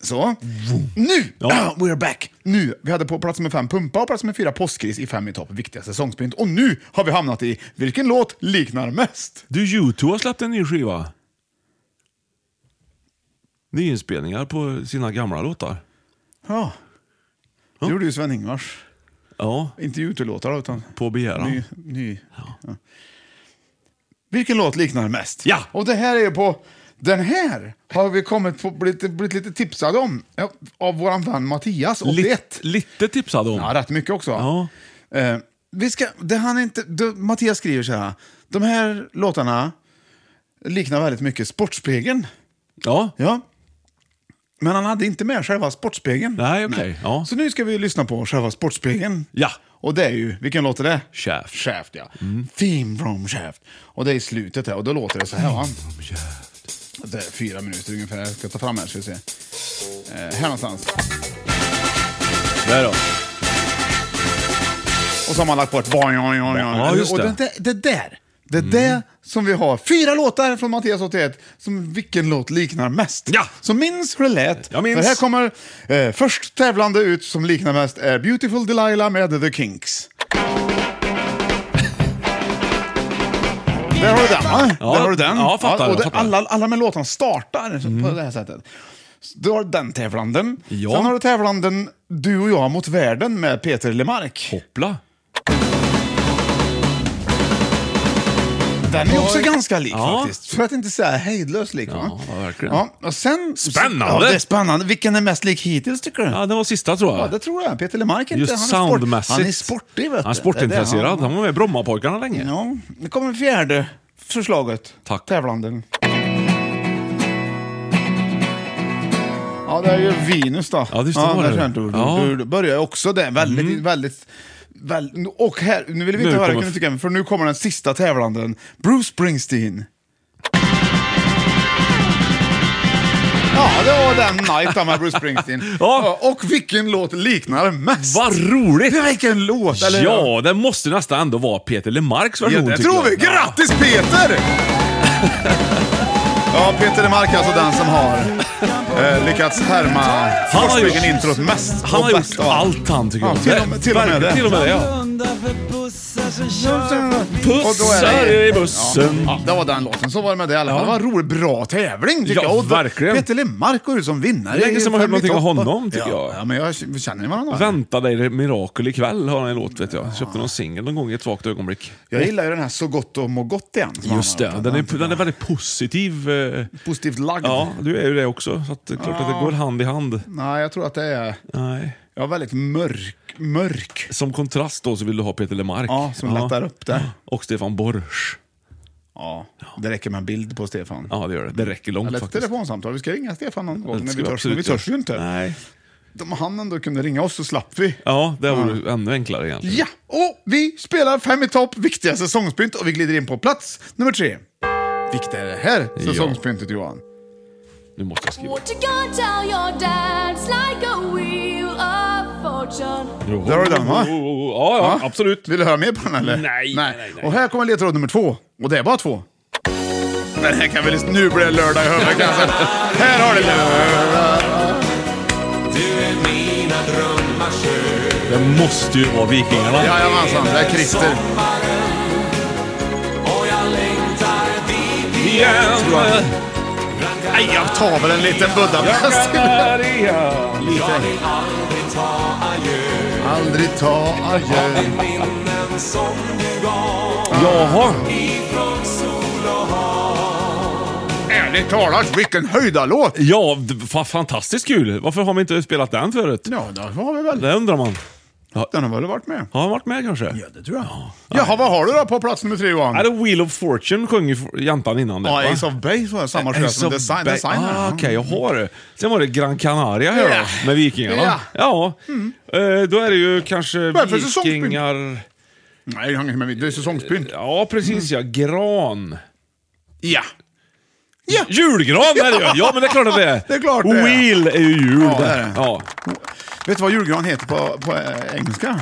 Så. Nu!
Ja.
*clears throat* We're back! Nu! Vi hade på plats nummer fem Pumpa och plats nummer fyra Påskris i fem i topp viktiga säsongspynt. Och nu har vi hamnat i Vilken låt liknar mest?
Du, YouTube har släppt en ny skiva. Nyinspelningar på sina gamla låtar.
Ja. Det gjorde ju Sven-Ingvars.
Ja,
Inte YouTube-låtar utan
på begäran.
ny... ny. Ja. Vilken låt liknar mest?
Ja.
Och det här är ju på... Den här har vi kommit på, blivit, blivit lite tipsade om ja, av våran vän Mattias, 81.
Lite, lite tipsad om.
Ja, rätt mycket också.
Ja.
Eh, vi ska, det han inte, du, Mattias skriver så här. De här låtarna liknar väldigt mycket Sportspegeln.
Ja.
Ja. Men han hade inte med själva Sportspegeln.
Nej, okej. Ja.
Så nu ska vi lyssna på själva Sportspegeln.
Ja. Mm.
Och det är ju, vilken låt är det?
Shaft.
Shaft, ja. Theme from Shaft. Och det är i slutet här, och då låter det så här va? Det är fyra minuter ungefär. Jag ska ta fram här så vi ser. Eh, här någonstans.
Där då.
Och så har man lagt på ett boing, boing, boing, boing.
Ja, just
Och
det. Mm.
det, där- det där, det där som vi har. Fyra låtar från Mattias 81 som vilken låt liknar mest.
Ja.
Så minns hur det lät.
Jag minns.
För här kommer eh, först tävlande ut som liknar mest är Beautiful Delilah med The
*laughs*
Kinks. Där har du den va?
Ja.
Där har du den.
Ja, fattar,
och det,
fattar. Mm.
Alla, alla med låtarna startar så- på det här sättet. Så Du har den tävlanden.
Ja.
Sen har du tävlanden Du och jag mot världen med Peter Lemark.
Hoppla.
Den är också ganska lik
Ja.
faktiskt. För att inte säga hejdlöst lik. va?
Ja, verkligen.
Ja, och sen,
Spännande!
Ja, det är spännande. Vilken är mest lik hittills tycker du?
Ja, det var sista tror jag.
Ja, det tror jag. Peter Lemark inte.
Just
han är sport-
soundmässigt.
Han är sportig, vet du. Det är
Han är
det
sportintresserad.
han-
Han var med i Brommapojkarna länge.
Ja, nu kommer fjärde förslaget. Tack. Tävlanden. Ja, det är ju Venus då.
Ja, just det, var
där
det.
kör Du, du,
Ja. Mm.
du, du börjar ju också där. Väldigt, väldigt... Väl, och här, nu vill vi
Nu
inte höra
kommer-
Knut igen, för nu kommer den sista tävlanden. Bruce Springsteen. Ja, det var den night då med Bruce
*laughs*
Springsteen. ja. Och vilken låt liknar mest?
Vad roligt!
Vilken låt! Eller?
Ja, det måste nästan ändå vara Peter Lemarks version.
Ja, det
tycker
tror vi.
jag.
Grattis
*laughs*
Peter! Ja, Peter Demark är alltså den som har eh, lyckats härma
Han har
Forsbyggen
gjort-
introt mest.
Han
och
har
bäst
gjort
av
allt han tycker
Ja,
om.
till och med- till och med
Verkligen,
det.
Till och med det, ja.
Och då är det-
Pussar i bussen.
Ja, det var den låten. Så var det med det i alla fall.
Ja.
Det var en rolig, bra tävling tycker
Ja,
jag. Och
verkligen.
Peter Lemark går ut som vinnare.
Länge sedan man
i
hört någonting av
Fem i topp.
honom, tycker
ja,
jag.
Ja, men jag känner ju varandra.
Vänta dig det mirakel ikväll har han en låt vet jag. Köpte någon singel någon gång i ett svagt ögonblick.
Jag gillar ju den här Så gott och må gott igen. som
Just
han
det,
har gjort.
den är, den är väldigt positiv. eh,
Positivt lagd.
Ja, du är ju det också. Så att, det är klart att
Ja.
det går hand i hand.
Nej, jag tror att det är...
Nej.
Ja, väldigt mörk. mörk.
Som kontrast då så vill du ha Peter Lemark.
Ja, som lättar upp det.
Och Stefan Borsch.
Ja, det räcker med en bild på Stefan.
Ja, det gör det. Det räcker långt
Eller ett
faktiskt.
telefonsamtal. Vi ska ringa Stefan någon
Det
gång, men
ska
vi
vi
törs, men vi
absolut göra.
törs ju inte.
Nej.
Om han ändå kunde ringa oss så slapp vi.
Ja, det vore ännu enklare egentligen.
Ja, och vi spelar Fem i topp, viktiga säsongspynt, och vi glider in på plats nummer tre. Vilket är det här säsongspyntet, Johan?
Nu måste jag skriva.
What you gonna tell your dad? It's like a wheel of fortune.
Där har du den, va?
Ja, ja, absolut.
Vill du höra mer på den, eller?
Nej, nej, nej.
Och här kommer ledtråd nummer två, och det är bara två. Den här kan vi lyssna... Nu blir det lördag i huvudet, kan jag
*laughs*
säga. Här har du lördag.
Det måste ju vara Vikingarna.
Jajamensan, det är Christer.
Igen.
Nej, jag tar väl en liten Budapest. Lite. Aldrig ta adjö.
Jaha.
*laughs* Ärligt talat, vilken höjdarlåt!
Ja, d- fa- fantastiskt kul. Varför har vi inte spelat den förut?
Ja, det har vi väl.
Det undrar man.
Den har väl varit med?
Har han varit med kanske? Ja,
det tror jag. Jaha, vad har du då på plats nummer tre Johan?
Är det Wheel of Fortune sjöng ju f- jantan innan det?
Ja,
va?
Ace of Base var det, samma sjö
Ace
som
of
design,
Ba-
designer.
Ah, Okej, jag har det. Sen var det Gran Canaria här
Ja.
då, med vikingarna.
Ja. Mm.
Ja. Eh, då är det ju kanske
Vad är det för säsongspynt?
vikingar...
Nej, det hänger inte med mig. Det är säsongspynt.
Ja, precis ja. Gran.
Ja.
Julgran är det ju! Ja, men det är klart att det är.
*laughs* Det är klart det är.
Wheel är ju jul
Ja, det är
där.
det.
Ja.
Vet du vad julgran heter på, på eh, engelska?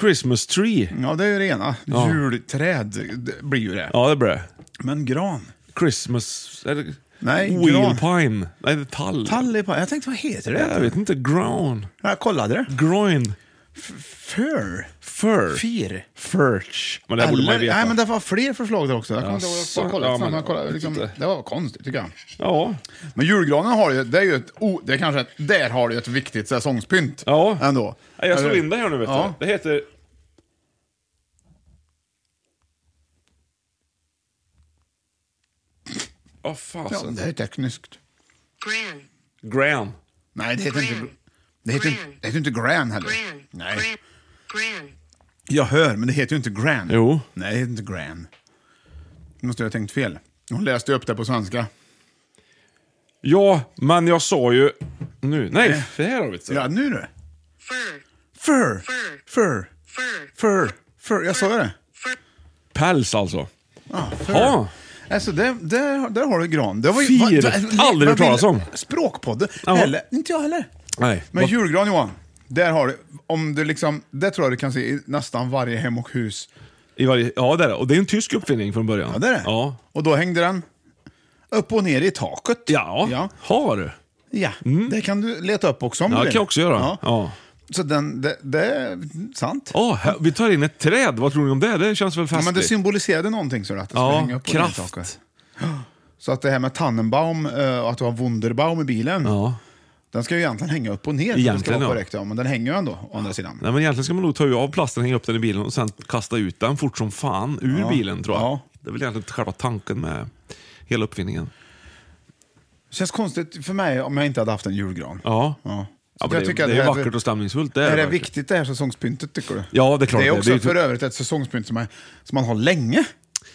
Christmas tree.
Ja, det är ju det ena.
Ja.
Julträd det blir ju det.
Ja, det blir det.
Men gran?
Christmas... Är det...
Nej,
Wheel
gran.
pine. Nej, det är tall.
Tall är på... Jag tänkte, vad heter det?
Jag vet inte. Grown.
Jag kollade det.
Groin.
Fur.
Fur.
Fir.
Furch. Men det här borde man ju veta.
Nej, men det var fler förslag där också. Jag kommer inte ihåg. Jag har
Jaså?
kollat
Ja,
fram,
men-
jag kollade, liksom,
jag vet
Det var konstigt tycker jag.
Ja.
Men julgranen har ju, det är ju ett, oh, det är kanske ett, där har du ju ett viktigt säsongspynt.
Ja.
Ändå.
Nej, Jag slår
Eller-
in det här nu vet
Ja.
du. Det heter... Vad
Ja,
fasen.
det är tekniskt.
Gran.
Gran.
Nej, det heter inte... Det heter, inte- det heter inte Gran heller. Nej.
Gran.
Jag hör, men det heter ju inte Gran.
Jo.
Nej, det heter inte Gran. Nu måste jag ha tänkt fel. Hon läste upp det på svenska.
Ja, men jag sa ju... Nu. Nej, det här har vi inte.
Ja, nu du.
Fur.
Fur.
Fur.
Fur.
Fur.
Fur. Fur. Jag sa ju det.
Päls alltså.
Ja, Ah, fur.
Ja.
Alltså, där, där, där har du gran. Det var ju,
Fir. Aldrig hört
vad vill-
talas om.
Språkpodden.
Ja.
Eller, inte jag heller.
Nej.
Men
vad-
julgran Johan, där har du, om du liksom, det tror jag du kan se i nästan varje hem och hus.
I varje, ja, det är det. Och det är en tysk uppfinning från början.
Ja, det är det.
Ja.
Och då hängde den upp och ner i taket.
Ja,
Ja.
har.
Ja, det kan du leta upp också om
Ja,
du
det kan jag också göra.
Ja.
Ja. Ja.
Så den, det, det är sant.
här, vi tar in ett träd. Vad tror ni om det? Det känns väl
Ja,
festligt?
men det symboliserade någonting så att det
Ja,
skulle hänga upp och ner i
kraft.
taket. Så att det här med Tannenbaum eh, och att du har Wunderbaum i bilen.
Ja.
Den ska ju egentligen hänga upp och ner för att det ska
Egentligen,
vara
ja.
korrekt, ja. men den hänger ju ändå å andra sidan.
Nej, men egentligen ska man nog ta av plasten, hänga upp den i bilen och sen kasta ut den fort som fan ur
Ja.
bilen tror jag.
Ja.
Det är väl egentligen själva tanken med hela uppfinningen.
Känns konstigt för mig om jag inte hade haft en julgran.
Ja.
Ja.
Ja,
Så
men
jag
det-
tycker att
det är
här-
vackert och stämningsfullt, det är
är det
det verkligen.
viktigt det här säsongspyntet tycker du?
Ja, det är klart
Det
det
är
är.
också
Det är ju-
för övrigt ett säsongspynt som, är, som man har länge.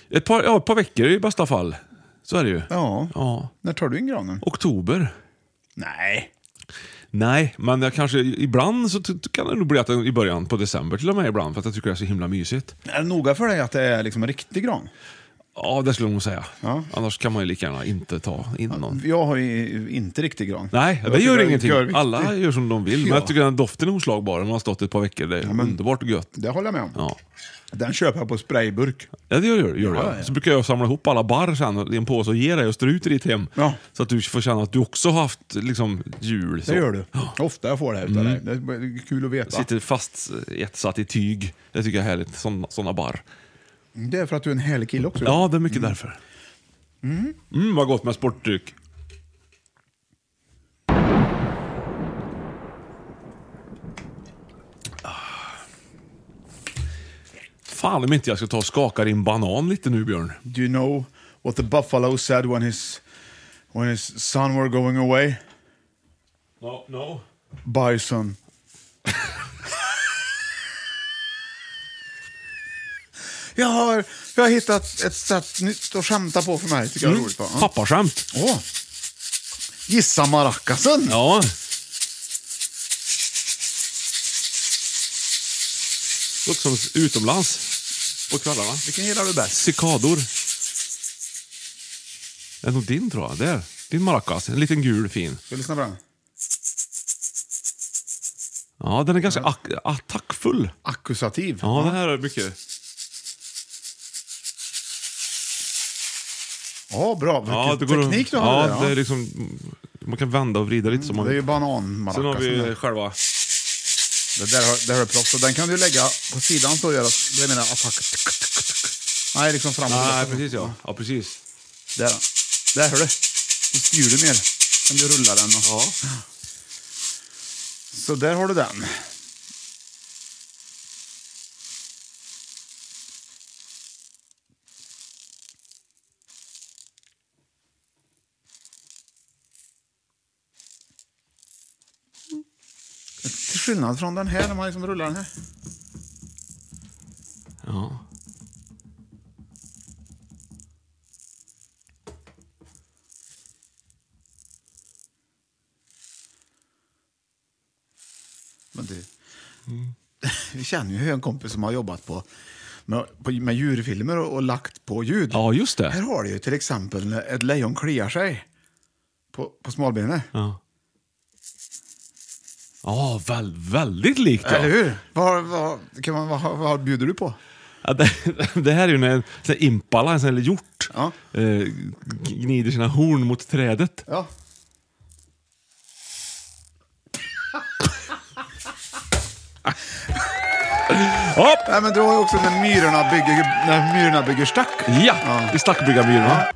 Ett par, ja, ett par veckor i bästa fall. Så är det ju.
Ja.
ja.
När tar du in granen?
Oktober.
Nej.
Nej, men jag kanske ibland så ty- kan det nog bli att den, i början på december till och med ibland för att jag tycker det är så himla mysigt.
Är det noga för dig att det är liksom en riktig gran?
Ja, det skulle jag nog säga. Annars kan man ju lika gärna inte ta in någon.
Jag har ju inte riktig gran.
Nej,
Jag
det
tycker
gör
det
ingenting.
gör viktigt.
Alla gör som de vill. Men
Ja.
jag tycker den doften är oslagbar. Den har stått ett par veckor. Det är underbart gött.
Det håller jag med om.
Ja.
Den köper jag på sprayburk.
Ja, det gör, gör, gör
Ja,
jag.
ja.
Så brukar jag samla ihop alla barr sen i en påse och ge dig och strö ut i ditt hem. Så att du får känna att du också har haft liksom, jul.
Det
så.
gör du. Ofta jag får det här utav
Mm.
dig. Det är kul att veta.
Sitter fast eh, etsatt i tyg. Det tycker jag är härligt. Sådana, såna barr.
Det är för att du är en härlig kille också.
Ja, det är mycket därför.
Mm.
Mm, vad gott med sportdryck. Ah. Fan om inte jag ska ta och skaka din banan lite nu, Björn.
Do you know what the buffalo said when his, when his son were going away?
No, no.
Bison. jag, har, jag har hittat ett sätt nytt att skämta på för mig. Tycker jag är
Mm.
roligt. va? Ja.
Pappaskämt.
Åh. Gissa maracasen.
Ja. Låter som utomlands på kvällarna.
Vilken gillar du bäst?
Cikador. Det är nog din tror jag. Där. Din maracas. En liten gul fin.
Ska vi lyssna på den?
Ja, den är ganska ak- attackfull.
Akkusativ.
Ja, det här är mycket.
Ja, bra. Vilken
Ja, det går att-
teknik du har.
Ja,
där, Mm,
det är liksom... Man kan vända och vrida lite som man
Det är ju bananmaracas.
Sen har vi själva...
Det där har, där har du proffs. Och Den kan du lägga på sidan så gör att det blir mer attack. Nej, liksom framåt.
Nej, precis ja. Ja, precis.
Där, där hör du. Du styr du mer. Kan du rulla den. Och...
Ja.
Så där har du den. Till skillnad från den här, när man liksom rullar den här.
Ja.
Men du,
Mm.
*laughs* vi känner ju en kompis som har jobbat på med, på, med djurfilmer och, och lagt på ljud.
Ja, just det.
Här har du ju till exempel när ett lejon kliar sig på, på smalbenet.
Ja, ja väl, väldigt likt ja.
Eller hur? Vad, vad, kan man, vad, vad bjuder du på?
Ja, det, det *laughs* här är ju när en sån här impala, en sån här hjort, eh, gnider sina horn mot trädet.
Ja.
Hopp!
Nej, men du har ju också när myrorna bygger, när myrorna bygger stack.
Ja, i stackbyggarmyrorna.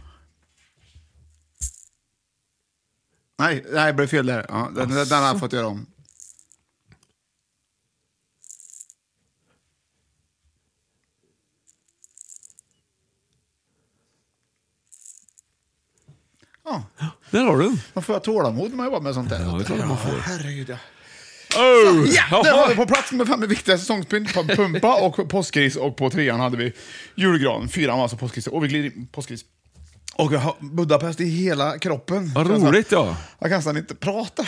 Nej, nej, det blev fel där. Ja, den, den, den har jag fått göra om. Ja.
Där har du den.
Man får ha tålamod när man jobbar med sånt där.
Ja, det är klart man får.
Herregud, ja.
Oh!
Ja, där var vi på plats med fem viktiga säsongspynt. På Pumpa och påskris och på trean hade vi julgran. Fyran var alltså påskris och vi glider in påskris. Och jag har Budapest i hela kroppen.
Vad
Känns som-
roligt ja.
Jag kan nästan inte prata.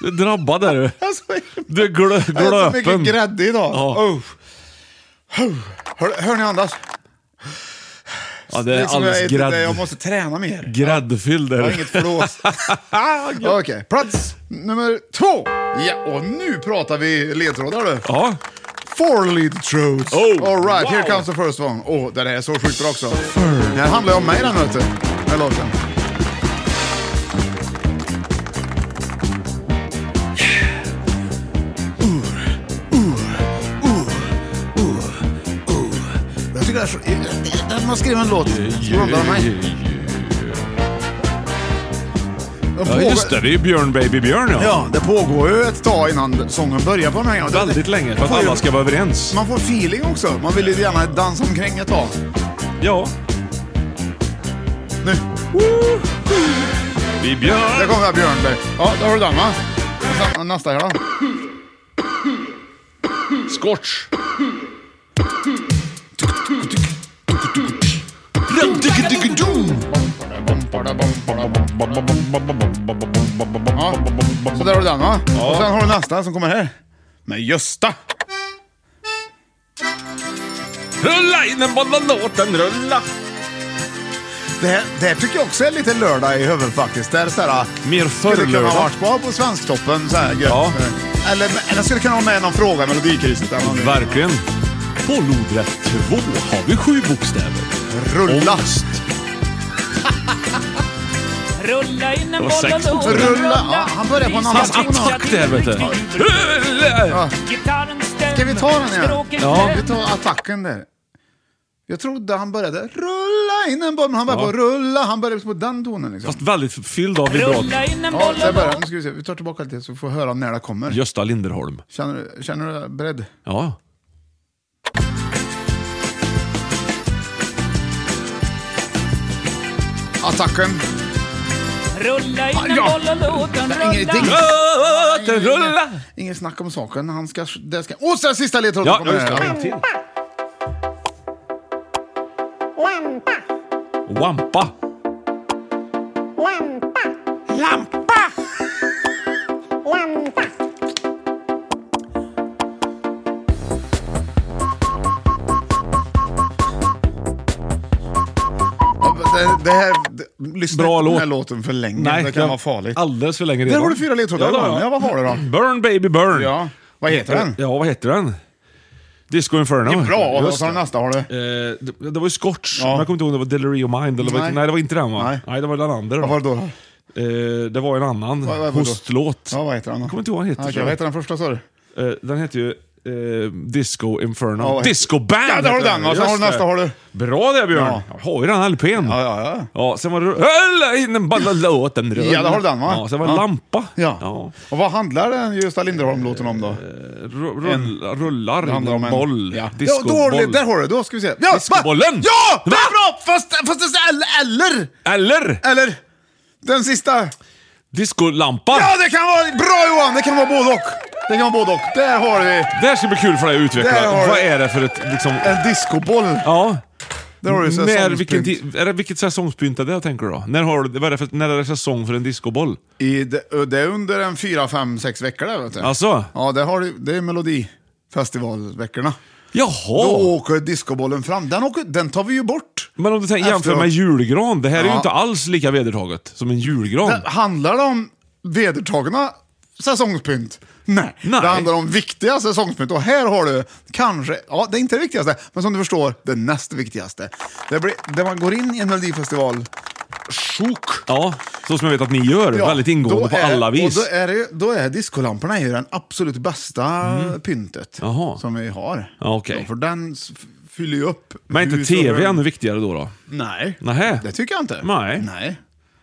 Du är drabbad där du.
Alltså,
Du är glö,
jag har så
glöpen.
mycket grädde idag.
Ja.
Oh. Oh. Hör, hör ni andas?
Ja, det är
Liksom, jag
alldeles
inte- Jag
grädd,
måste träna mer.
gräddfylld.
Jag har
där.
inget
*laughs*
flås. Okej, plats nummer två. Ja, och nu pratar vi ledtrådar du.
Ja.
Four lead throats.
Oh,
All right, here
wow.
comes the first one. Åh, oh, den här är så sjukt bra också. Den här handlar ju om mig den vet du. Den här låten. Jag tycker det är så... När man skriver en låt så undrar man mig.
Ja, just det. Det är ju Björn Baby Björn, ja.
Ja, det pågår ju ett tag innan sången börjar på den här.
Väldigt länge, för
Man
att
får ju-
alla ska vara överens.
Man får feeling också. Man vill ju gärna dansa omkring ett tag.
Ja.
Nu.
Vi Björn.
Där kommer Björn där. Ja, där har du den va? Och sen, nästa här då.
Scotch.
Ja, så där har du den va? Och sen har du nästa som kommer här. Med Gösta.
Rulla in den bara låten rulla.
Det här, det här tycker jag också är lite lördag i huvudet faktiskt. Det är så här, ah,
Mer
Skulle kunna
förrlördag.
ha varit bra på Svensktoppen. Så här, ja. eller, eller skulle kunna ha med någon fråga i Melodikrysset. eller någonting.
Verkligen. På lodrätt två har vi sju bokstäver.
Rulla.
Ångest.
Rulla in
Det
en
var
boll
sex
och
bokstäver.
rulla.
Rulla. Ja, han börjar på en annan
Hans attack där, vet du. Rulla.
Gitarren stämmer.
Ska vi ta den igen?
Stråken
Ja.
Vi tar attacken där. Jag trodde han började rulla in en boll, men han började
Ja.
på rulla. Han började på den tonen liksom.
Fast väldigt fylld av vibrat.
Ja, där börjar den. Nu ska vi se. Vi tar tillbaka lite så vi får höra när det kommer.
Gösta Linderholm.
Känner du, känner du dig beredd?
Ja.
Attacken.
Rulla in
Ah,
en
ja.
boll och låt den
Det är
rulla.
ingenting.
Låten Äh, rulla.
Inget snack om saken. Han ska... Det ska och sen sista ledtråden
Ja,
kommer
just det.
här.
En till. Wampa.
Lampa! Lampa!
Det, det här, det, lyssna
Bra
inte på den här
låt.
låten för länge.
Nej,
det kan
jag-
vara farligt.
Alldeles för länge
Där
redan.
har du fyra ledtrådar.
Ja, det har jag.
Ja, vad har du då?
Burn baby burn.
Ja. Vad heter den?
Ja, vad heter den? Disco Inferno.
Det är bra. Och
Just
så har du
det.
nästa. Har du.
Eh, det, det var ju Scotch,
Ja.
men jag kommer inte ihåg om det var Delirio Mind eller nej.
Nej.
nej det var inte den va?
Nej.
Nej, det var den andra då.
Vad var det då?
Eh, det var en annan
Vad- vad var det då?
hostlåt.
Ja, vad heter den då?
Jag kommer inte ihåg vad den heter.
Okej,
tror jag.
vad heter den första sa du?
Eh, den heter ju eh, Disco Inferno.
Ja, vad heter-
Disco Band!
Ja, där har du
heter
den. Och sen
Just
har du nästa.
det.
Har du.
Bra där Björn!
Ja.
Jag har ju den LPn. Ja,
ja, ja.
sen var det Rulla in den balla låten rulla.
Ja, där har du den va?
Ja, sen var det
ja.
Lampa.
Ja.
Ja. Eh,
Och vad handlar den Gösta Linderholm-låten om då?
Ru- rull- Rullar
Det
in
handlar om en-
en boll.
Ja.
Discoboll.
Ja, dåligt. Där har du det. Då ska vi se. Ja,
Discobollen!
va? Ja! Det är bra! Fast, fast det är eller- eller!
Eller?
Eller? Den sista.
Discolampa!
Ja, det kan vara bra Johan! Det kan vara både och. Det kan vara både och. Där har vi
Det här ska bli kul för dig att
Där
utveckla.
har
Vad
du-
är det för ett liksom...
en discoboll.
Ja.
Där har du så här
När,
sångspynt.
vilken, ti- är det, vilket säsongspynt är det tänker du då? När, har du, vad är det för, när är det säsong för en discoboll?
I, det, det är under en fyra, fem, sex veckor där vet du.
Alltså?
Ja, det, har, du- det är Melodifestivalveckorna.
Jaha!
Då åker discobollen fram. Den, åker, den tar vi ju bort.
Men om du tänker, jämför
Efteråt.
med julgran, det här är ju
Ja.
inte alls lika vedertaget som en julgran.
Det handlar det om vedertagna säsongspynt? Nej.
Nej.
Det handlar om viktiga säsongspynt. Och här har du kanske, ja det är inte det viktigaste, men som du förstår, det näst viktigaste. Det blir, när man går in i en melodifestival, sjok.
Ja, så som jag vet att ni gör.
Ja,
väldigt
då
ingående på
är-
alla vis.
Och då, är det, ju- då är diskolamporna ju den absolut bästa pyntet
Mm. Jaha.
som vi har.
Ja, okej.
Ja, för den s- fyller ju upp
Men inte
hus och
tv
hem.
ännu viktigare då? då?
Nej,
Nähä.
det tycker jag inte.
Nej. Mm.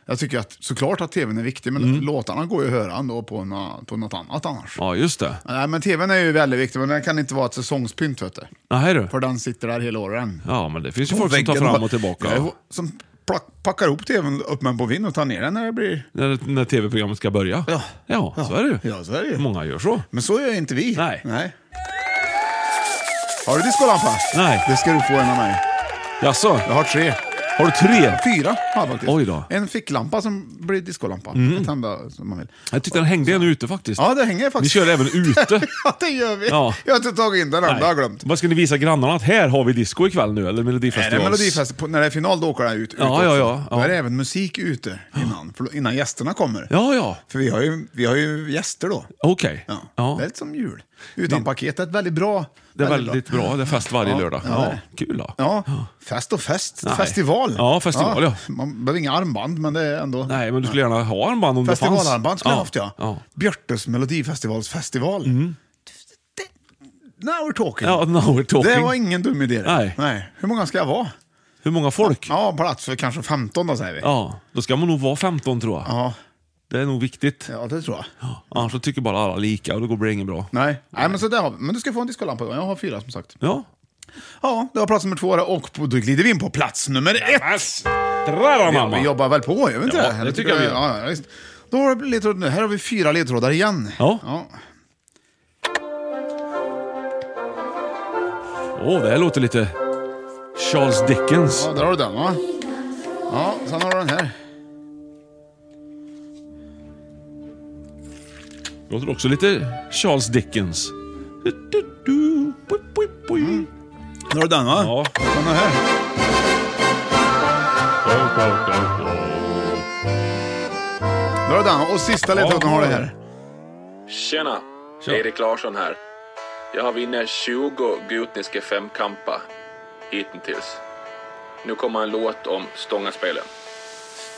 Jag tycker att, såklart att tvn är viktig, men låtarna går ju att höra ändå på, na, på något annat annars.
Ja, just det.
Nej, men tvn är ju väldigt viktig, men den kan inte vara ett säsongspynt. Vet du.
Nähä du.
För den sitter där hela året. än.
Ja, men det finns ju
På
folk som tar
väggen
fram
bara-
och tillbaka.
Ja, Som plack- packar ihop tvn upp med en bovin och tar ner den när det blir...
När, när tv-programmet ska börja. Ja. Ja, så är det ju.
Ja, så är det ju.
Många gör så.
Men så gör inte vi.
Nej.
Nej. Har du diskolampa?
Nej.
Det ska du få en av mig.
Jaså?
Jag har tre.
Har du tre?
Fyra har jag faktiskt.
Oj då.
En ficklampa som blir diskolampa. Att tända som man vill.
Jag tyckte den hängde en ute faktiskt.
Ja, det hänger
Ni
faktiskt.
kör även ute.
*laughs* ja, det gör vi.
Ja.
Jag har inte tagit in den andra, jag har glömt.
Vad ska ni visa grannarna att här har vi disco ikväll nu? Eller
Är
Melodifestivals?
det Melodifest, på- när det är final då åker den ut. ut
Ja, ja, ja,
också. Då
ja.
är det även musik ute innan, för då- innan gästerna kommer.
Ja, ja.
För vi har, ju, vi har ju gäster då.
Okej.
Ja.
Ja.
Det är lite som jul. Utan paketet, väldigt bra.
Det är väldigt bra. Det är fest varje
Ja,
lördag.
ja, det
Ja,
är
kul då.
Ja, fest och fest.
Nej.
Festival.
Ja, festival, ja.
Man behöver inga armband, men det är ändå...
Nej, men du skulle gärna ha armband om det fanns.
Festivalarmband skulle jag haft, ja.
ja. Mm.
Björtes melodifestivalsfestival. Now we're talking.
Ja, *laughs* now we're talking.
Det var ingen dum idé. det.
Nej.
Nej. Hur många ska jag vara?
Hur många folk?
Ja, plats för kanske 15 då säger vi.
Ja, då ska man nog vara 15 tror jag.
Ja.
Det är nog viktigt.
Ja, det tror jag.
Annars så tycker bara alla lika och då går det inget bra.
Nej, Nej men, så där har vi. men du ska få en diskolampa. Jag har fyra som sagt.
Ja.
Ja, det var plats nummer två där, och på, då glider vi in på plats nummer ett.
Dra,
vi,
mamma.
vi jobbar väl på, gör vi inte
Ja,
det?
det tycker jag vi
ja, ja, visst. Då har vi ledtråd nu. Här har vi fyra ledtrådar igen.
Ja.
ja.
Åh, det här låter lite Charles Dickens.
Ja, där har du den va? Ja, sen har du den här.
Låter också lite Charles Dickens.
Där har du den va?
Ja.
Sen har du här. Där har du den. Och sista ledtråden har du här.
Tjena! Erik Larsson här. Jag har vunnit 20 gutniska femkampar hittills. Nu kommer en låt om stångaspelen.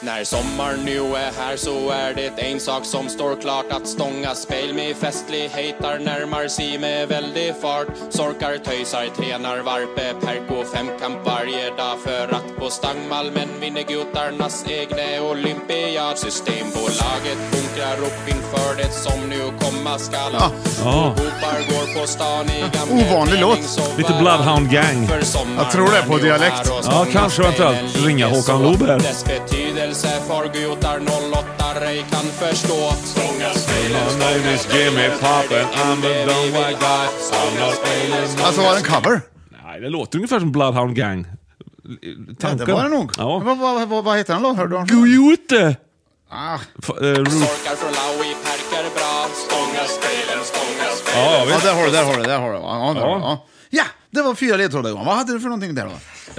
När sommaren nu är här så är det en sak som står klart att stånga spel med festligheter närmar sig med väldig fart. Sorkar, töjsar, tränar, varpe, perk och femkamp varje dag för att på Stangmalmen vinner gutarnas egne olympiad. Systembolaget bunkrar upp inför det som nu komma skall.
Ja.
Hopar går på stan i gamla
Ovanlig låt.
Lite Bloodhound Gang.
Jag tror det är på dialekt.
Ja, kanske eventuellt ringa Håkan Lober.
Dess betydelse för gutar 08 ej kan förstå. Stånga spelen,
Alltså var det en cover?
Nej, det låter ungefär som Bloodhound Gang.
Ja,
Tanken.
det var det nog.
Ja.
Vad, vad, vad, vad heter den då? Hörde du den?
Gujute!
Ah.
F- eh, Ruth-
Sorkar från Laui perkar bra. Stånga spelen, stånga spelen.
Ja,
Ja,
visst.
där har du, där har du, där har du. Ja, där
Ja.
har du, ja. ja det var fyra ledtrådar Johan. Vad hade du för någonting där då?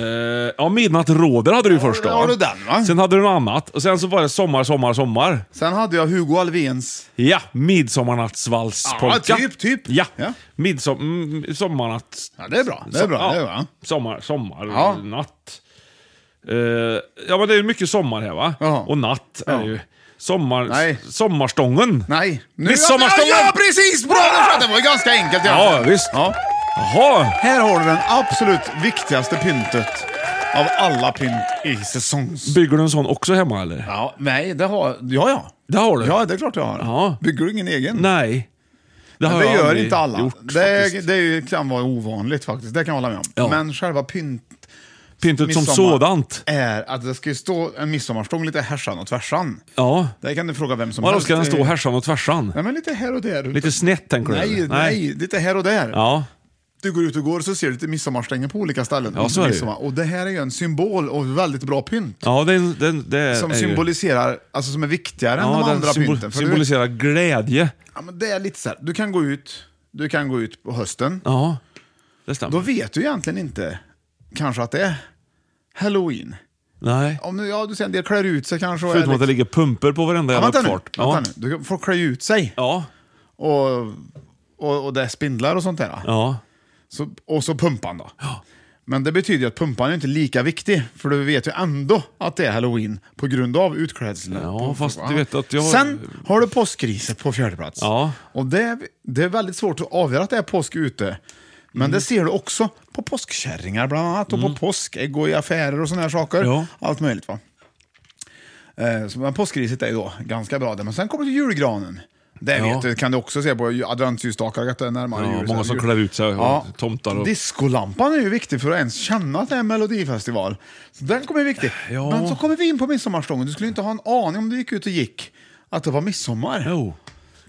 Eh, ja, Midnatt råder hade du ju först då.
där har du den, va?
Sen hade du något annat. Och sen så var det Sommar, sommar, sommar.
Sen hade jag Hugo Alvens.
Ja, Midsommarnattsvalspolka.
Ja, typ, typ.
Ja,
Ja.
Midsom- mm, sommarnatt...
Ja, det är bra. Det är bra,
Ja.
det är bra.
Sommar, sommarnatt. Eh, ja, men det är mycket sommar här va? Och natt är det ju. Sommar,
Nej.
Sommarstången.
Nej.
Midsommarstången!
Ja, ja, precis! Bra! det tror jag. Det var ju ganska enkelt.
Ja, visst.
Ja.
Jaha.
Här har du den absolut viktigaste pyntet av alla pynt i säsongs...
Bygger du en sån också hemma eller?
Ja, nej, det har Ja, ja.
Det har du?
Ja, det är klart jag har. Bygger du ingen egen?
Nej. Det har
det
jag
gör
aldrig
inte alla.
Gjort,
det är,
faktiskt.
det är, ju- kan vara ovanligt faktiskt, det kan jag hålla med om.
Ja.
Men själva pynt...
Pyntet som
midsommar
sådant.
...är att det ska ju stå en midsommarstång lite härsan och tvärsan.
Ja.
Där kan du fråga vem som
Och då
helst.
ska den
Det-
stå härsan och tvärsan.
Nej, men lite här och där.
Lite snett tänker
nej,
du?
nej,
eller?
lite här och där.
Ja.
Du går ut och går så ser du lite midsommarstänger på olika ställen.
Ja, så är det ju.
Midsommar. Och det här är ju en symbol och väldigt bra pynt.
Ja, den, den, det
Som
är ju-
symboliserar, alltså som är viktigare än
ja,
de
den
andra
symbol-
pynten. För du,
symboliserar glädje.
ja, men det är lite så här, du kan gå ut, du kan gå ut på hösten.
Ja, det stämmer.
Då vet du egentligen inte kanske att det är halloween.
Nej.
Om du, ja, du ser en del klär ut sig kanske. och är liksom-
Förutom att det ligger pumper på varenda
Ja,
jävla
vänta nu,
uppfart.
vänta nu. Du får klä ut sig.
Ja.
Och, och, och det är spindlar och sånt där.
Ja.
Så, och så pumpan då. Men det betyder ju att pumpan är inte lika viktig, för du vet ju ändå att det är halloween på grund av utklädseln.
ja, fast du vet att jag...
Sen har du påskriset på fjärde plats.
Ja.
Och det är, det är väldigt svårt att avgöra att det är påsk ute. Men
Mm.
det ser du också på påskkärringar bland annat och på påskägg och i affärer och sådana här saker.
Ja.
Allt möjligt va. Eh, så, men påskriset är ju då ganska bra där. Men sen kommer du till julgranen. Det
Ja.
vet du, kan du också se på ju- adventsljusstakar att det är närmare
Ja,
jul.
många
Så
som
jul-
klär ut sig och
Ja.
tomtar och...
Diskolampan är ju viktig för att ens känna att det är en melodifestival. Så den kommer ju viktig.
Eh, Ja.
Men så kommer vi in på midsommarstången. Du skulle inte ha en aning om du gick ut och gick att det var midsommar.
Jo.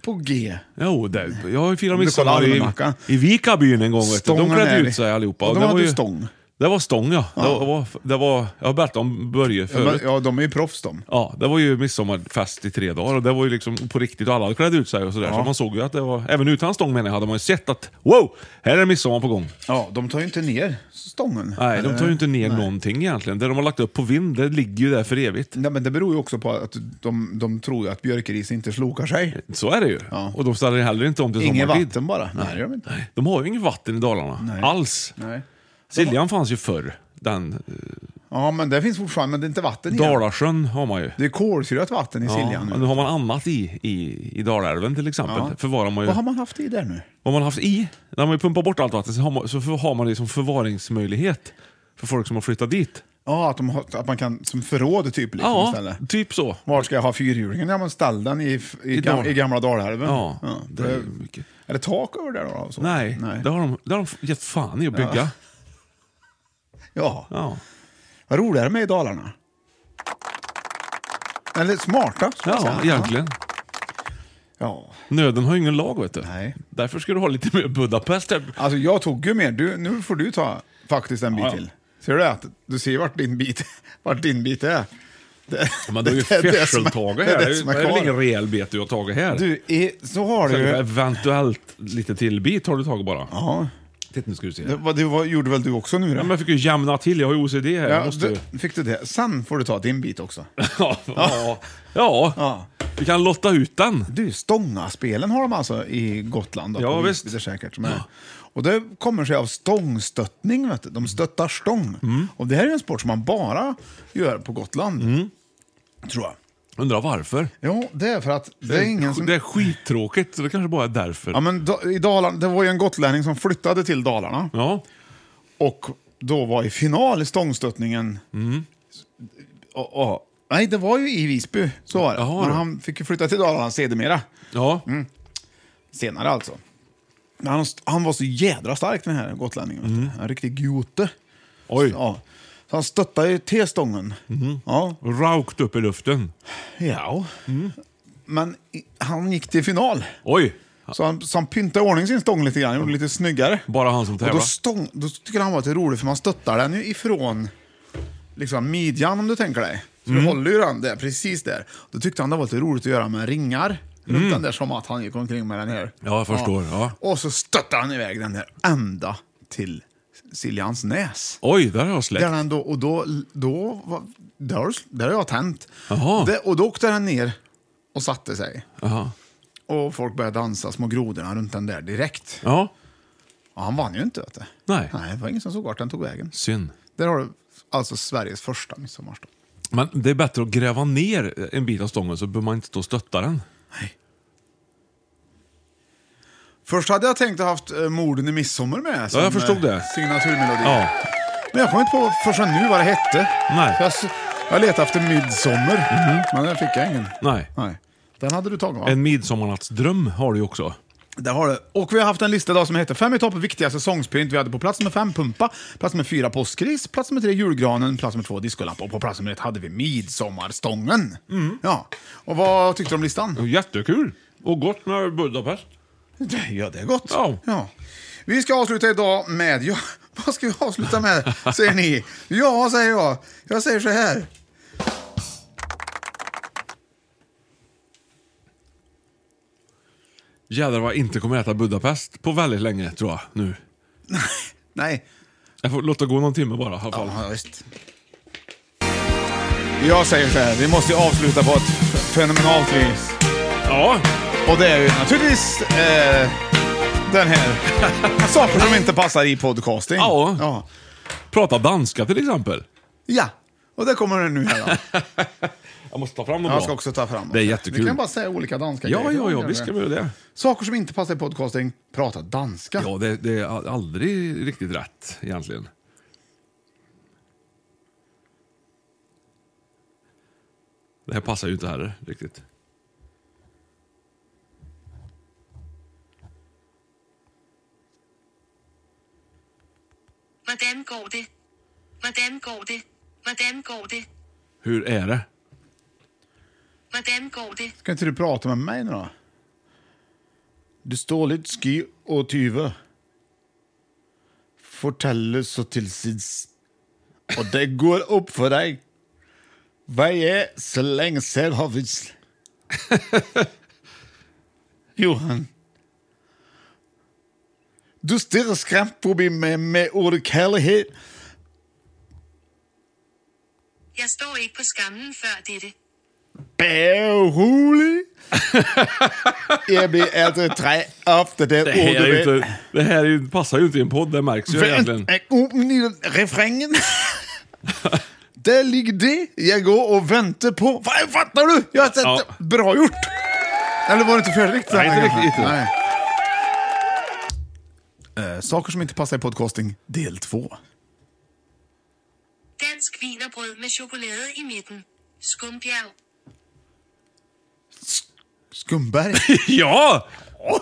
På G.
Jo, det, jag har ju firat
Om du
midsommar
kollar
i,
almanackan.
i Vikabyn en gång. Vet du. De
Stången
klädde
är
ut
det.
sig allihopa.
Och
Och
de
det
hade
ju,
stång.
Det var stång, ja.
Ja.
Det var, det var, jag har berättat om Börje
Ja, men,
förut.
ja, de är ju proffs de.
Ja, det var ju midsommarfest i tre dagar och det var ju liksom på riktigt och alla hade klätt ut sig och sådär. Så man såg ju att det var, även utan stång menar jag, hade man ju sett att wow, här är midsommar på gång.
Ja, de tar ju inte ner stången.
Nej, de tar ju inte ner
Nej.
någonting egentligen. Det de har lagt upp på vind, det ligger ju där för evigt.
Eh, Nej, men det beror ju också på att de, de tror ju att björkris inte slokar sig.
Så är det ju.
Ja.
Och de ställer heller inte om till
Inget
sommartid.
vatten bara. Nej, det gör de inte.
De har ju inget vatten i Dalarna. Alls.
Nej.
Siljan fanns ju förr. Den, eh,
Ja, men det finns fortfarande, men det är inte vatten i den.
Dalarsjön har man ju.
Det är kolsyrat vatten i Siljan
Ja,
nu.
nu har man annat i, i, i Dalälven till exempel.
Ja.
Förvarar man ju...
Vad har man haft i där nu?
Vad man har haft i, när man pumpar bort allt vatten, så har man, så för- har man det som förvaringsmöjlighet för liksom folk som har flyttat dit.
Ja, att, de har, att man kan som förråd typ. Liksom,
Ja,
istället.
typ så.
Var ska jag ha fyrhjulingen? Ja, men ställ den i, f- i,
I
gam,
Dal-
i gamla Dalälven.
Ja, det är mycket.
Är det tak över där då? Alltså?
Nej, det har de, det har de gett fan i att bygga.
Ja.
ja.
Vad roliga de är i Dalarna. Eller smarta, ska jag
Ja,
säga.
egentligen.
Ja.
Nöden har ju ingen lag, vet du.
Nej.
Därför ska du ha lite mer Budapest. här.
Alltså, jag tog ju mer. Du, nu får du ta faktiskt en bit
Ja, ja.
till. Ser du det? Att Du ser vart din bit, vart din bit är. Det,
Men det är ju färseltage här.
det är
Det
det som är
är väl
kvar.
ingen rejäl bet du har tagit här.
Du, i, så har
Sen
du ju...
Eventuellt lite till bit har du tagit bara.
Ja.
Titta nu ska du se.
Det, vad, det var, gjorde väl du också nu
Ja,
då?
men jag fick ju jämna till, jag har ju OCD här.
Ja,
jag måste... ju- *laughs*
du, fick du det? Sen får du ta din bit också.
ja, ja. ja, vi kan lotta ut den.
Du, stångaspelen har de alltså i Gotland. Då,
Ja,
på
visst.
Visby, Det är säkert, som är. Och det kommer sig av stångstöttning. Vet du. De stöttar stång.
Mm.
Och det här är ju en sport som man bara gör på Gotland.
Mm.
Tror jag.
Undrar varför?
Jo, det är för att det
Det
är
är
ingen
sk-
som...
det är skittråkigt, så det kanske bara är därför.
Alltså- Ja, men da- i Dalarna, det var ju en gotlänning som flyttade till Dalarna.
Ja.
Och då var i final i stångstöttningen.
Mm.
Och, och, nej, det var ju i Visby. Så var det.
Jaha,
men
då.
han fick ju flytta till Dalarna sedermera.
Ja.
Mm. Senare alltså. Men han, han var så jädra stark den här gotlänningen. vet du. En riktig gute.
Mm. Oj. Mm.
Så, ja. så han stöttade ju till stången. Ja.
Rakt upp i luften.
Ja.
Mm.
Men i- han gick till final.
Oj!
Så han, så han pyntade i ordning sin stång lite grann, gjorde den lite snyggare.
Bara han som
Och
tävlar.
då, stång, då tycker han var lite rolig för man stöttar den ju ifrån liksom, midjan om du tänker dig. Så
Mm.
du håller ju den där, precis där. Då tyckte han det var lite roligt att göra med ringar runt den där som att han gick omkring med den här.
Mm. Ja, jag förstår. Ja.
Och så stöttar han iväg den där ända till Siljansnäs.
Oj, där har jag
Där
släppt.
den då, och då, då, var- där, har du- där har jag tänt.
Jaha.
Det, och då åkte den ner och satte sig.
Jaha.
Och folk började dansa små grodorna runt den där direkt.
Ja,
Och han vann ju inte. Vet du.
Nej.
Nej, det var ingen som såg vart den tog vägen.
synd.
Där har du alltså Sveriges första midsommarstång.
Men det är bättre att gräva ner en bit av stången så behöver man inte stå och stötta den.
Först hade jag tänkt att haft eh, morden i midsommar med som
jag förstod det.
eh, signaturmelodi.
Ja.
Men jag kom inte på förrän nu vad det hette.
Nej. Mhm.
Jag, s- jag letade efter midsommar, men den fick jag ingen.
Nej. Eh,
Nej. Den hade du tagit va?
En midsommarnattsdröm har du ju också.
Där har du. Och vi har haft en lista idag som heter Fem i topp viktiga säsongspynt. Vi hade på plats nummer fem pumpa, plats nummer fyra påskris, plats nummer tre julgranen, plats nummer två discolampa och på plats nummer ett hade vi midsommarstången. Ja. Och vad tyckte du om listan?
Jättekul! Och gott med Budapest.
Ja, det är gott.
Ja.
Vi ska avsluta idag med... Ja, *laughs* vad ska vi avsluta med, säger ni? Ja, säger jag. Jag säger så här.
Jädrar vad jag inte kommer äta Budapest på väldigt länge tror jag nu.
Nej.
Jag får låta gå någon timme bara i alla fall.
Ja, visst. Jag säger så här. Vi måste ju avsluta på ett fenomenalt vis.
Ja,
Och det är ju naturligtvis eh, den
*laughs*
här. Saker som inte passar i podcasting.
Ja.
ja.
prata danska till exempel.
Ja, och det kommer den nu
*laughs*
här då.
Jag måste ta fram dem
Jag
då.
ska också ta fram
Det är
Vi
jättekul.
kan bara säga olika danska
Ja,
grejer.
ja, ja, visst ska vi göra det.
Saker som inte passar i podcasting, prata danska.
Ja, det, det är a- aldrig riktigt rätt egentligen. Det här passar ju inte heller riktigt.
Hvordan går det? Hvordan går det? Hvordan går det?
Hur är det?
Hvordan går det?
Ska inte du prata med mig nu då? Du står lite sky och tyve. Fortäller så till sids. Och det går upp för dig. Vad är så länge sedan har vi... *laughs* Johan. Du stirrar skrämt på mig med, med ordet kärlighet.
Jeg står ikke på skammen før dette.
Bärhuli. Jag blir äldre tre efter det
Det här, är ju
ordet.
inte, det här är ju, passar ju inte i en podd, det märks ju egentligen.
Open i oh,
*laughs*
refrängen. Där ligger det jag går och väntar på. Fan, Fattar du? Jag har sett
Ja.
det. Bra gjort! Eller var det inte färdigt?
Nej, inte
Anna?
riktigt.
Nej. Eh, saker som inte passar i podcasting, del två.
Dansk Vinerbrød med chokolade i midten. Skumbjerg.
*laughs*
Skumberg?
ja!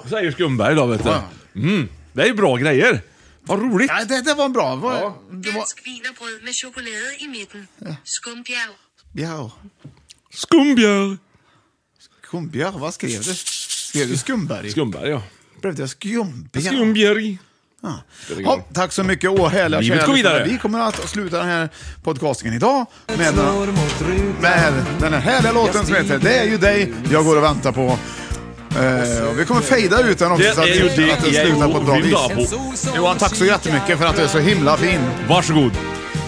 Säger Skumberg då, vet du. Mm, det är ju bra grejer. Vad roligt.
Ja, det, det var en bra. Det var, det var,
Dansk vinerbrød med chokolade i midten. Skumbjerg.
ja.
Skumbjerg.
Skumbjerg, vad skrev du? Skrev du Skumberg?
Skumberg, ja.
Blev det Skumbjerg?
Skumbjerg.
Ja. Ja, tack så mycket. Åh, härliga
Livet
kära
går
lyssnare.
vidare.
Vi kommer att sluta den här podcastingen idag med, den- med den här härliga låten som heter Det är ju dig jag går och väntar på. Eh, och vi kommer fejda ut den också
Det
så att,
är ju dig
att den
jag
slutar på ett bra
vill ha
vis. Johan, tack så jättemycket för att du är så himla fin.
Varsågod.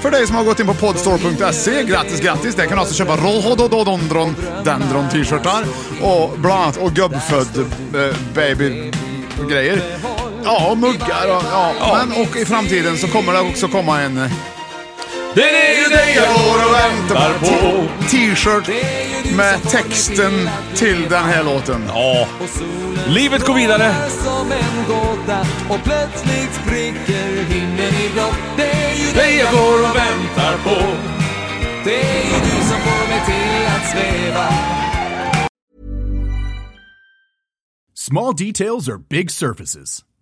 För dig som har gått in på podstore.se, grattis, grattis. Där kan du alltså köpa Rohodododondron Dendron t-shirtar och bland annat och gubbfödd eh, baby grejer. Ja, och muggar och ja. Men och i framtiden så kommer det också komma en eh,
Det är ju dig jag går och väntar på.
t-shirt med texten till den här låten.
Ja. Livet går vidare.
Som en gåta och plötsligt spricker himlen i blått. Det är ju dig jag går och väntar på. Det är ju du som får mig till att sväva.
Small details are big surfaces.